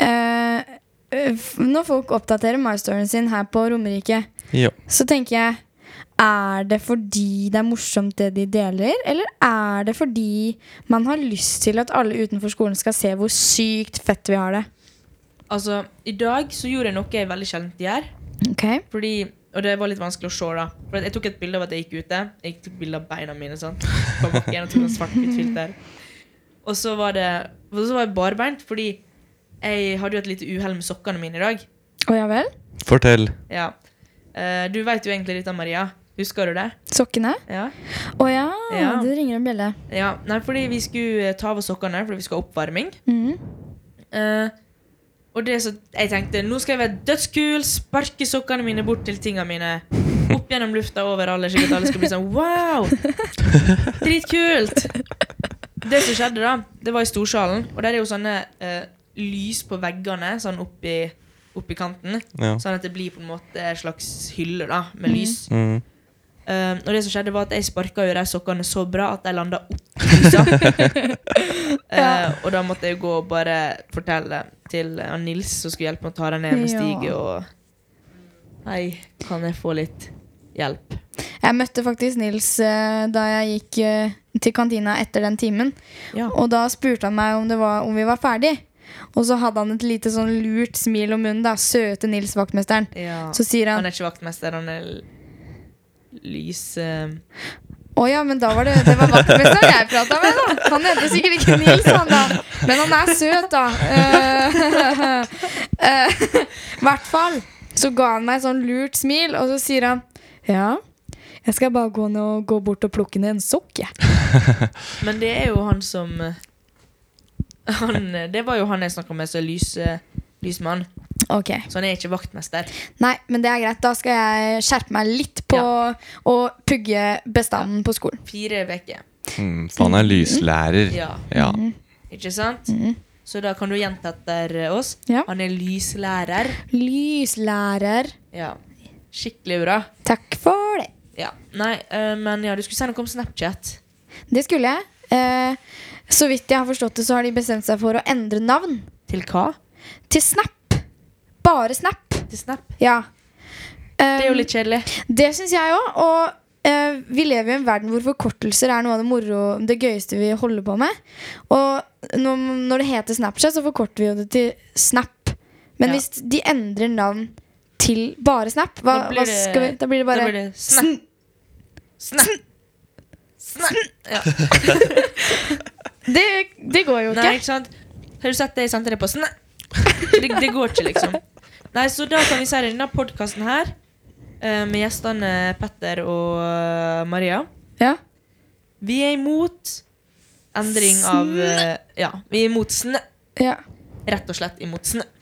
S3: eh, eh, f- Når folk oppdaterer MyStoryen sin her på Romerike,
S2: Ja.
S3: så tenker jeg Er det fordi det er morsomt det de deler, eller er det fordi man har lyst til at alle utenfor skolen skal se hvor sykt fett vi har det?
S1: Altså, I dag så gjorde jeg noe jeg veldig sjelden gjør.
S3: Ok,
S1: Fordi, og det var litt vanskelig å se. da For at Jeg tok et bilde av at jeg gikk ute. Jeg tok bilde av beina mine. sant? På bakken og tok en svart-hvitt filter. Og så var det og så var jeg barbeint, fordi jeg hadde jo et lite uhell med sokkene mine i dag.
S3: Å ja vel?
S2: Fortell.
S1: Ja. Eh, du veit jo egentlig dette, Maria. Husker du det?
S3: Sokkene?
S1: Ja.
S3: Å ja,
S1: Ja.
S3: det ringer en bjelle.
S1: ja. Nei, fordi vi skulle eh, ta av oss sokkene fordi vi skulle ha oppvarming.
S3: Mm.
S1: Eh, og det så, jeg tenkte nå skal jeg være dødskul, sparke sokkene mine bort til tingene mine. Opp gjennom lufta over alle, slik at alle skal bli sånn wow! Dritkult! Det som skjedde, da, det var i storsalen. Og der er jo sånne eh, lys på veggene sånn oppi, oppi kanten.
S2: Ja.
S1: Sånn at det blir på en måte en slags hylle da, med lys.
S2: Mm.
S1: Eh, og det som skjedde var at jeg sparka jo de sokkene så bra at de landa opp i lysa. Eh, og da måtte jeg jo gå og bare fortelle til eh, Nils, som skulle hjelpe meg å ta dem ned med
S3: Ja.
S1: stige, og Hei, kan jeg få litt hjelp?
S3: Jeg møtte faktisk Nils eh, da jeg gikk eh, til kantina etter den timen.
S1: Ja.
S3: Og da spurte han meg om, det var, om vi var ferdig. Og så hadde han et lite sånn lurt smil om munnen, da. Søte Nils, vaktmesteren.
S1: ja.
S3: Så sier
S1: Han
S3: han
S1: er ikke vaktmester, han er l- lys... eh,
S3: Å ja, men da var det Det var vaktmesteren jeg prata med, da. Han heter sikkert ikke Nils, han da. Men han er søt, da. Eh, eh, I hvert fall så ga han meg et sånn lurt smil, og så sier han Ja, jeg skal bare gå ned og gå bort og plukke ned en sokk, jeg.
S1: Men det er jo han som eh, han, eh, Det var jo han jeg snakka med, som er lys, eh, lysmann.
S3: Ok.
S1: Så han er ikke vaktmester.
S3: Nei, men det er greit. Da skal jeg skjerpe meg litt på å pugge bestanden på skolen.
S1: Fire uker.
S2: Mm, faen, jeg er lyslærer.
S1: Ja.
S2: Ja.
S1: Ikke sant? Så da kan du gjenta etter oss.
S3: Ja.
S1: Han er lyslærer.
S3: Lyslærer.
S1: Ja. Skikkelig bra.
S3: Takk for det.
S1: Ja. Nei, eh, men ja, du skulle si noe om Snapchat.
S3: Det skulle jeg. Eh, så vidt jeg har forstått det, så har de bestemt seg for å endre navn
S1: Til hva?
S3: til Snap. Bare Snap.
S1: Til Snap.
S3: Ja.
S1: Det er jo litt kjedelig.
S3: Det syns jeg òg. Og eh, vi lever i en verden hvor forkortelser er noe av det, moro, det gøyeste vi holder på med. Og når, når det heter Snapchat, så forkorter vi jo det til Snap. Men
S1: Ja.
S3: hvis de endrer navn til bare Snap, hva,
S1: Da blir
S3: da, blir hva
S1: det-
S3: skal vi, da blir det
S1: Da
S3: bare
S1: blir det Snap.
S3: Sn-
S1: Snap. Snap. Ja.
S3: det, det går jo
S1: Nei,
S3: ikke.
S1: ikke sant? Har du sett det jeg sendte deg på Snap? Det, det går ikke, liksom. Nei, så da kan vi si det i denne podkasten her, eh, med gjestene Petter og eh, Maria.
S3: Ja.
S1: Vi er imot endring av eh, Ja, vi er imot snø.
S3: Ja.
S1: Rett og slett imot snø.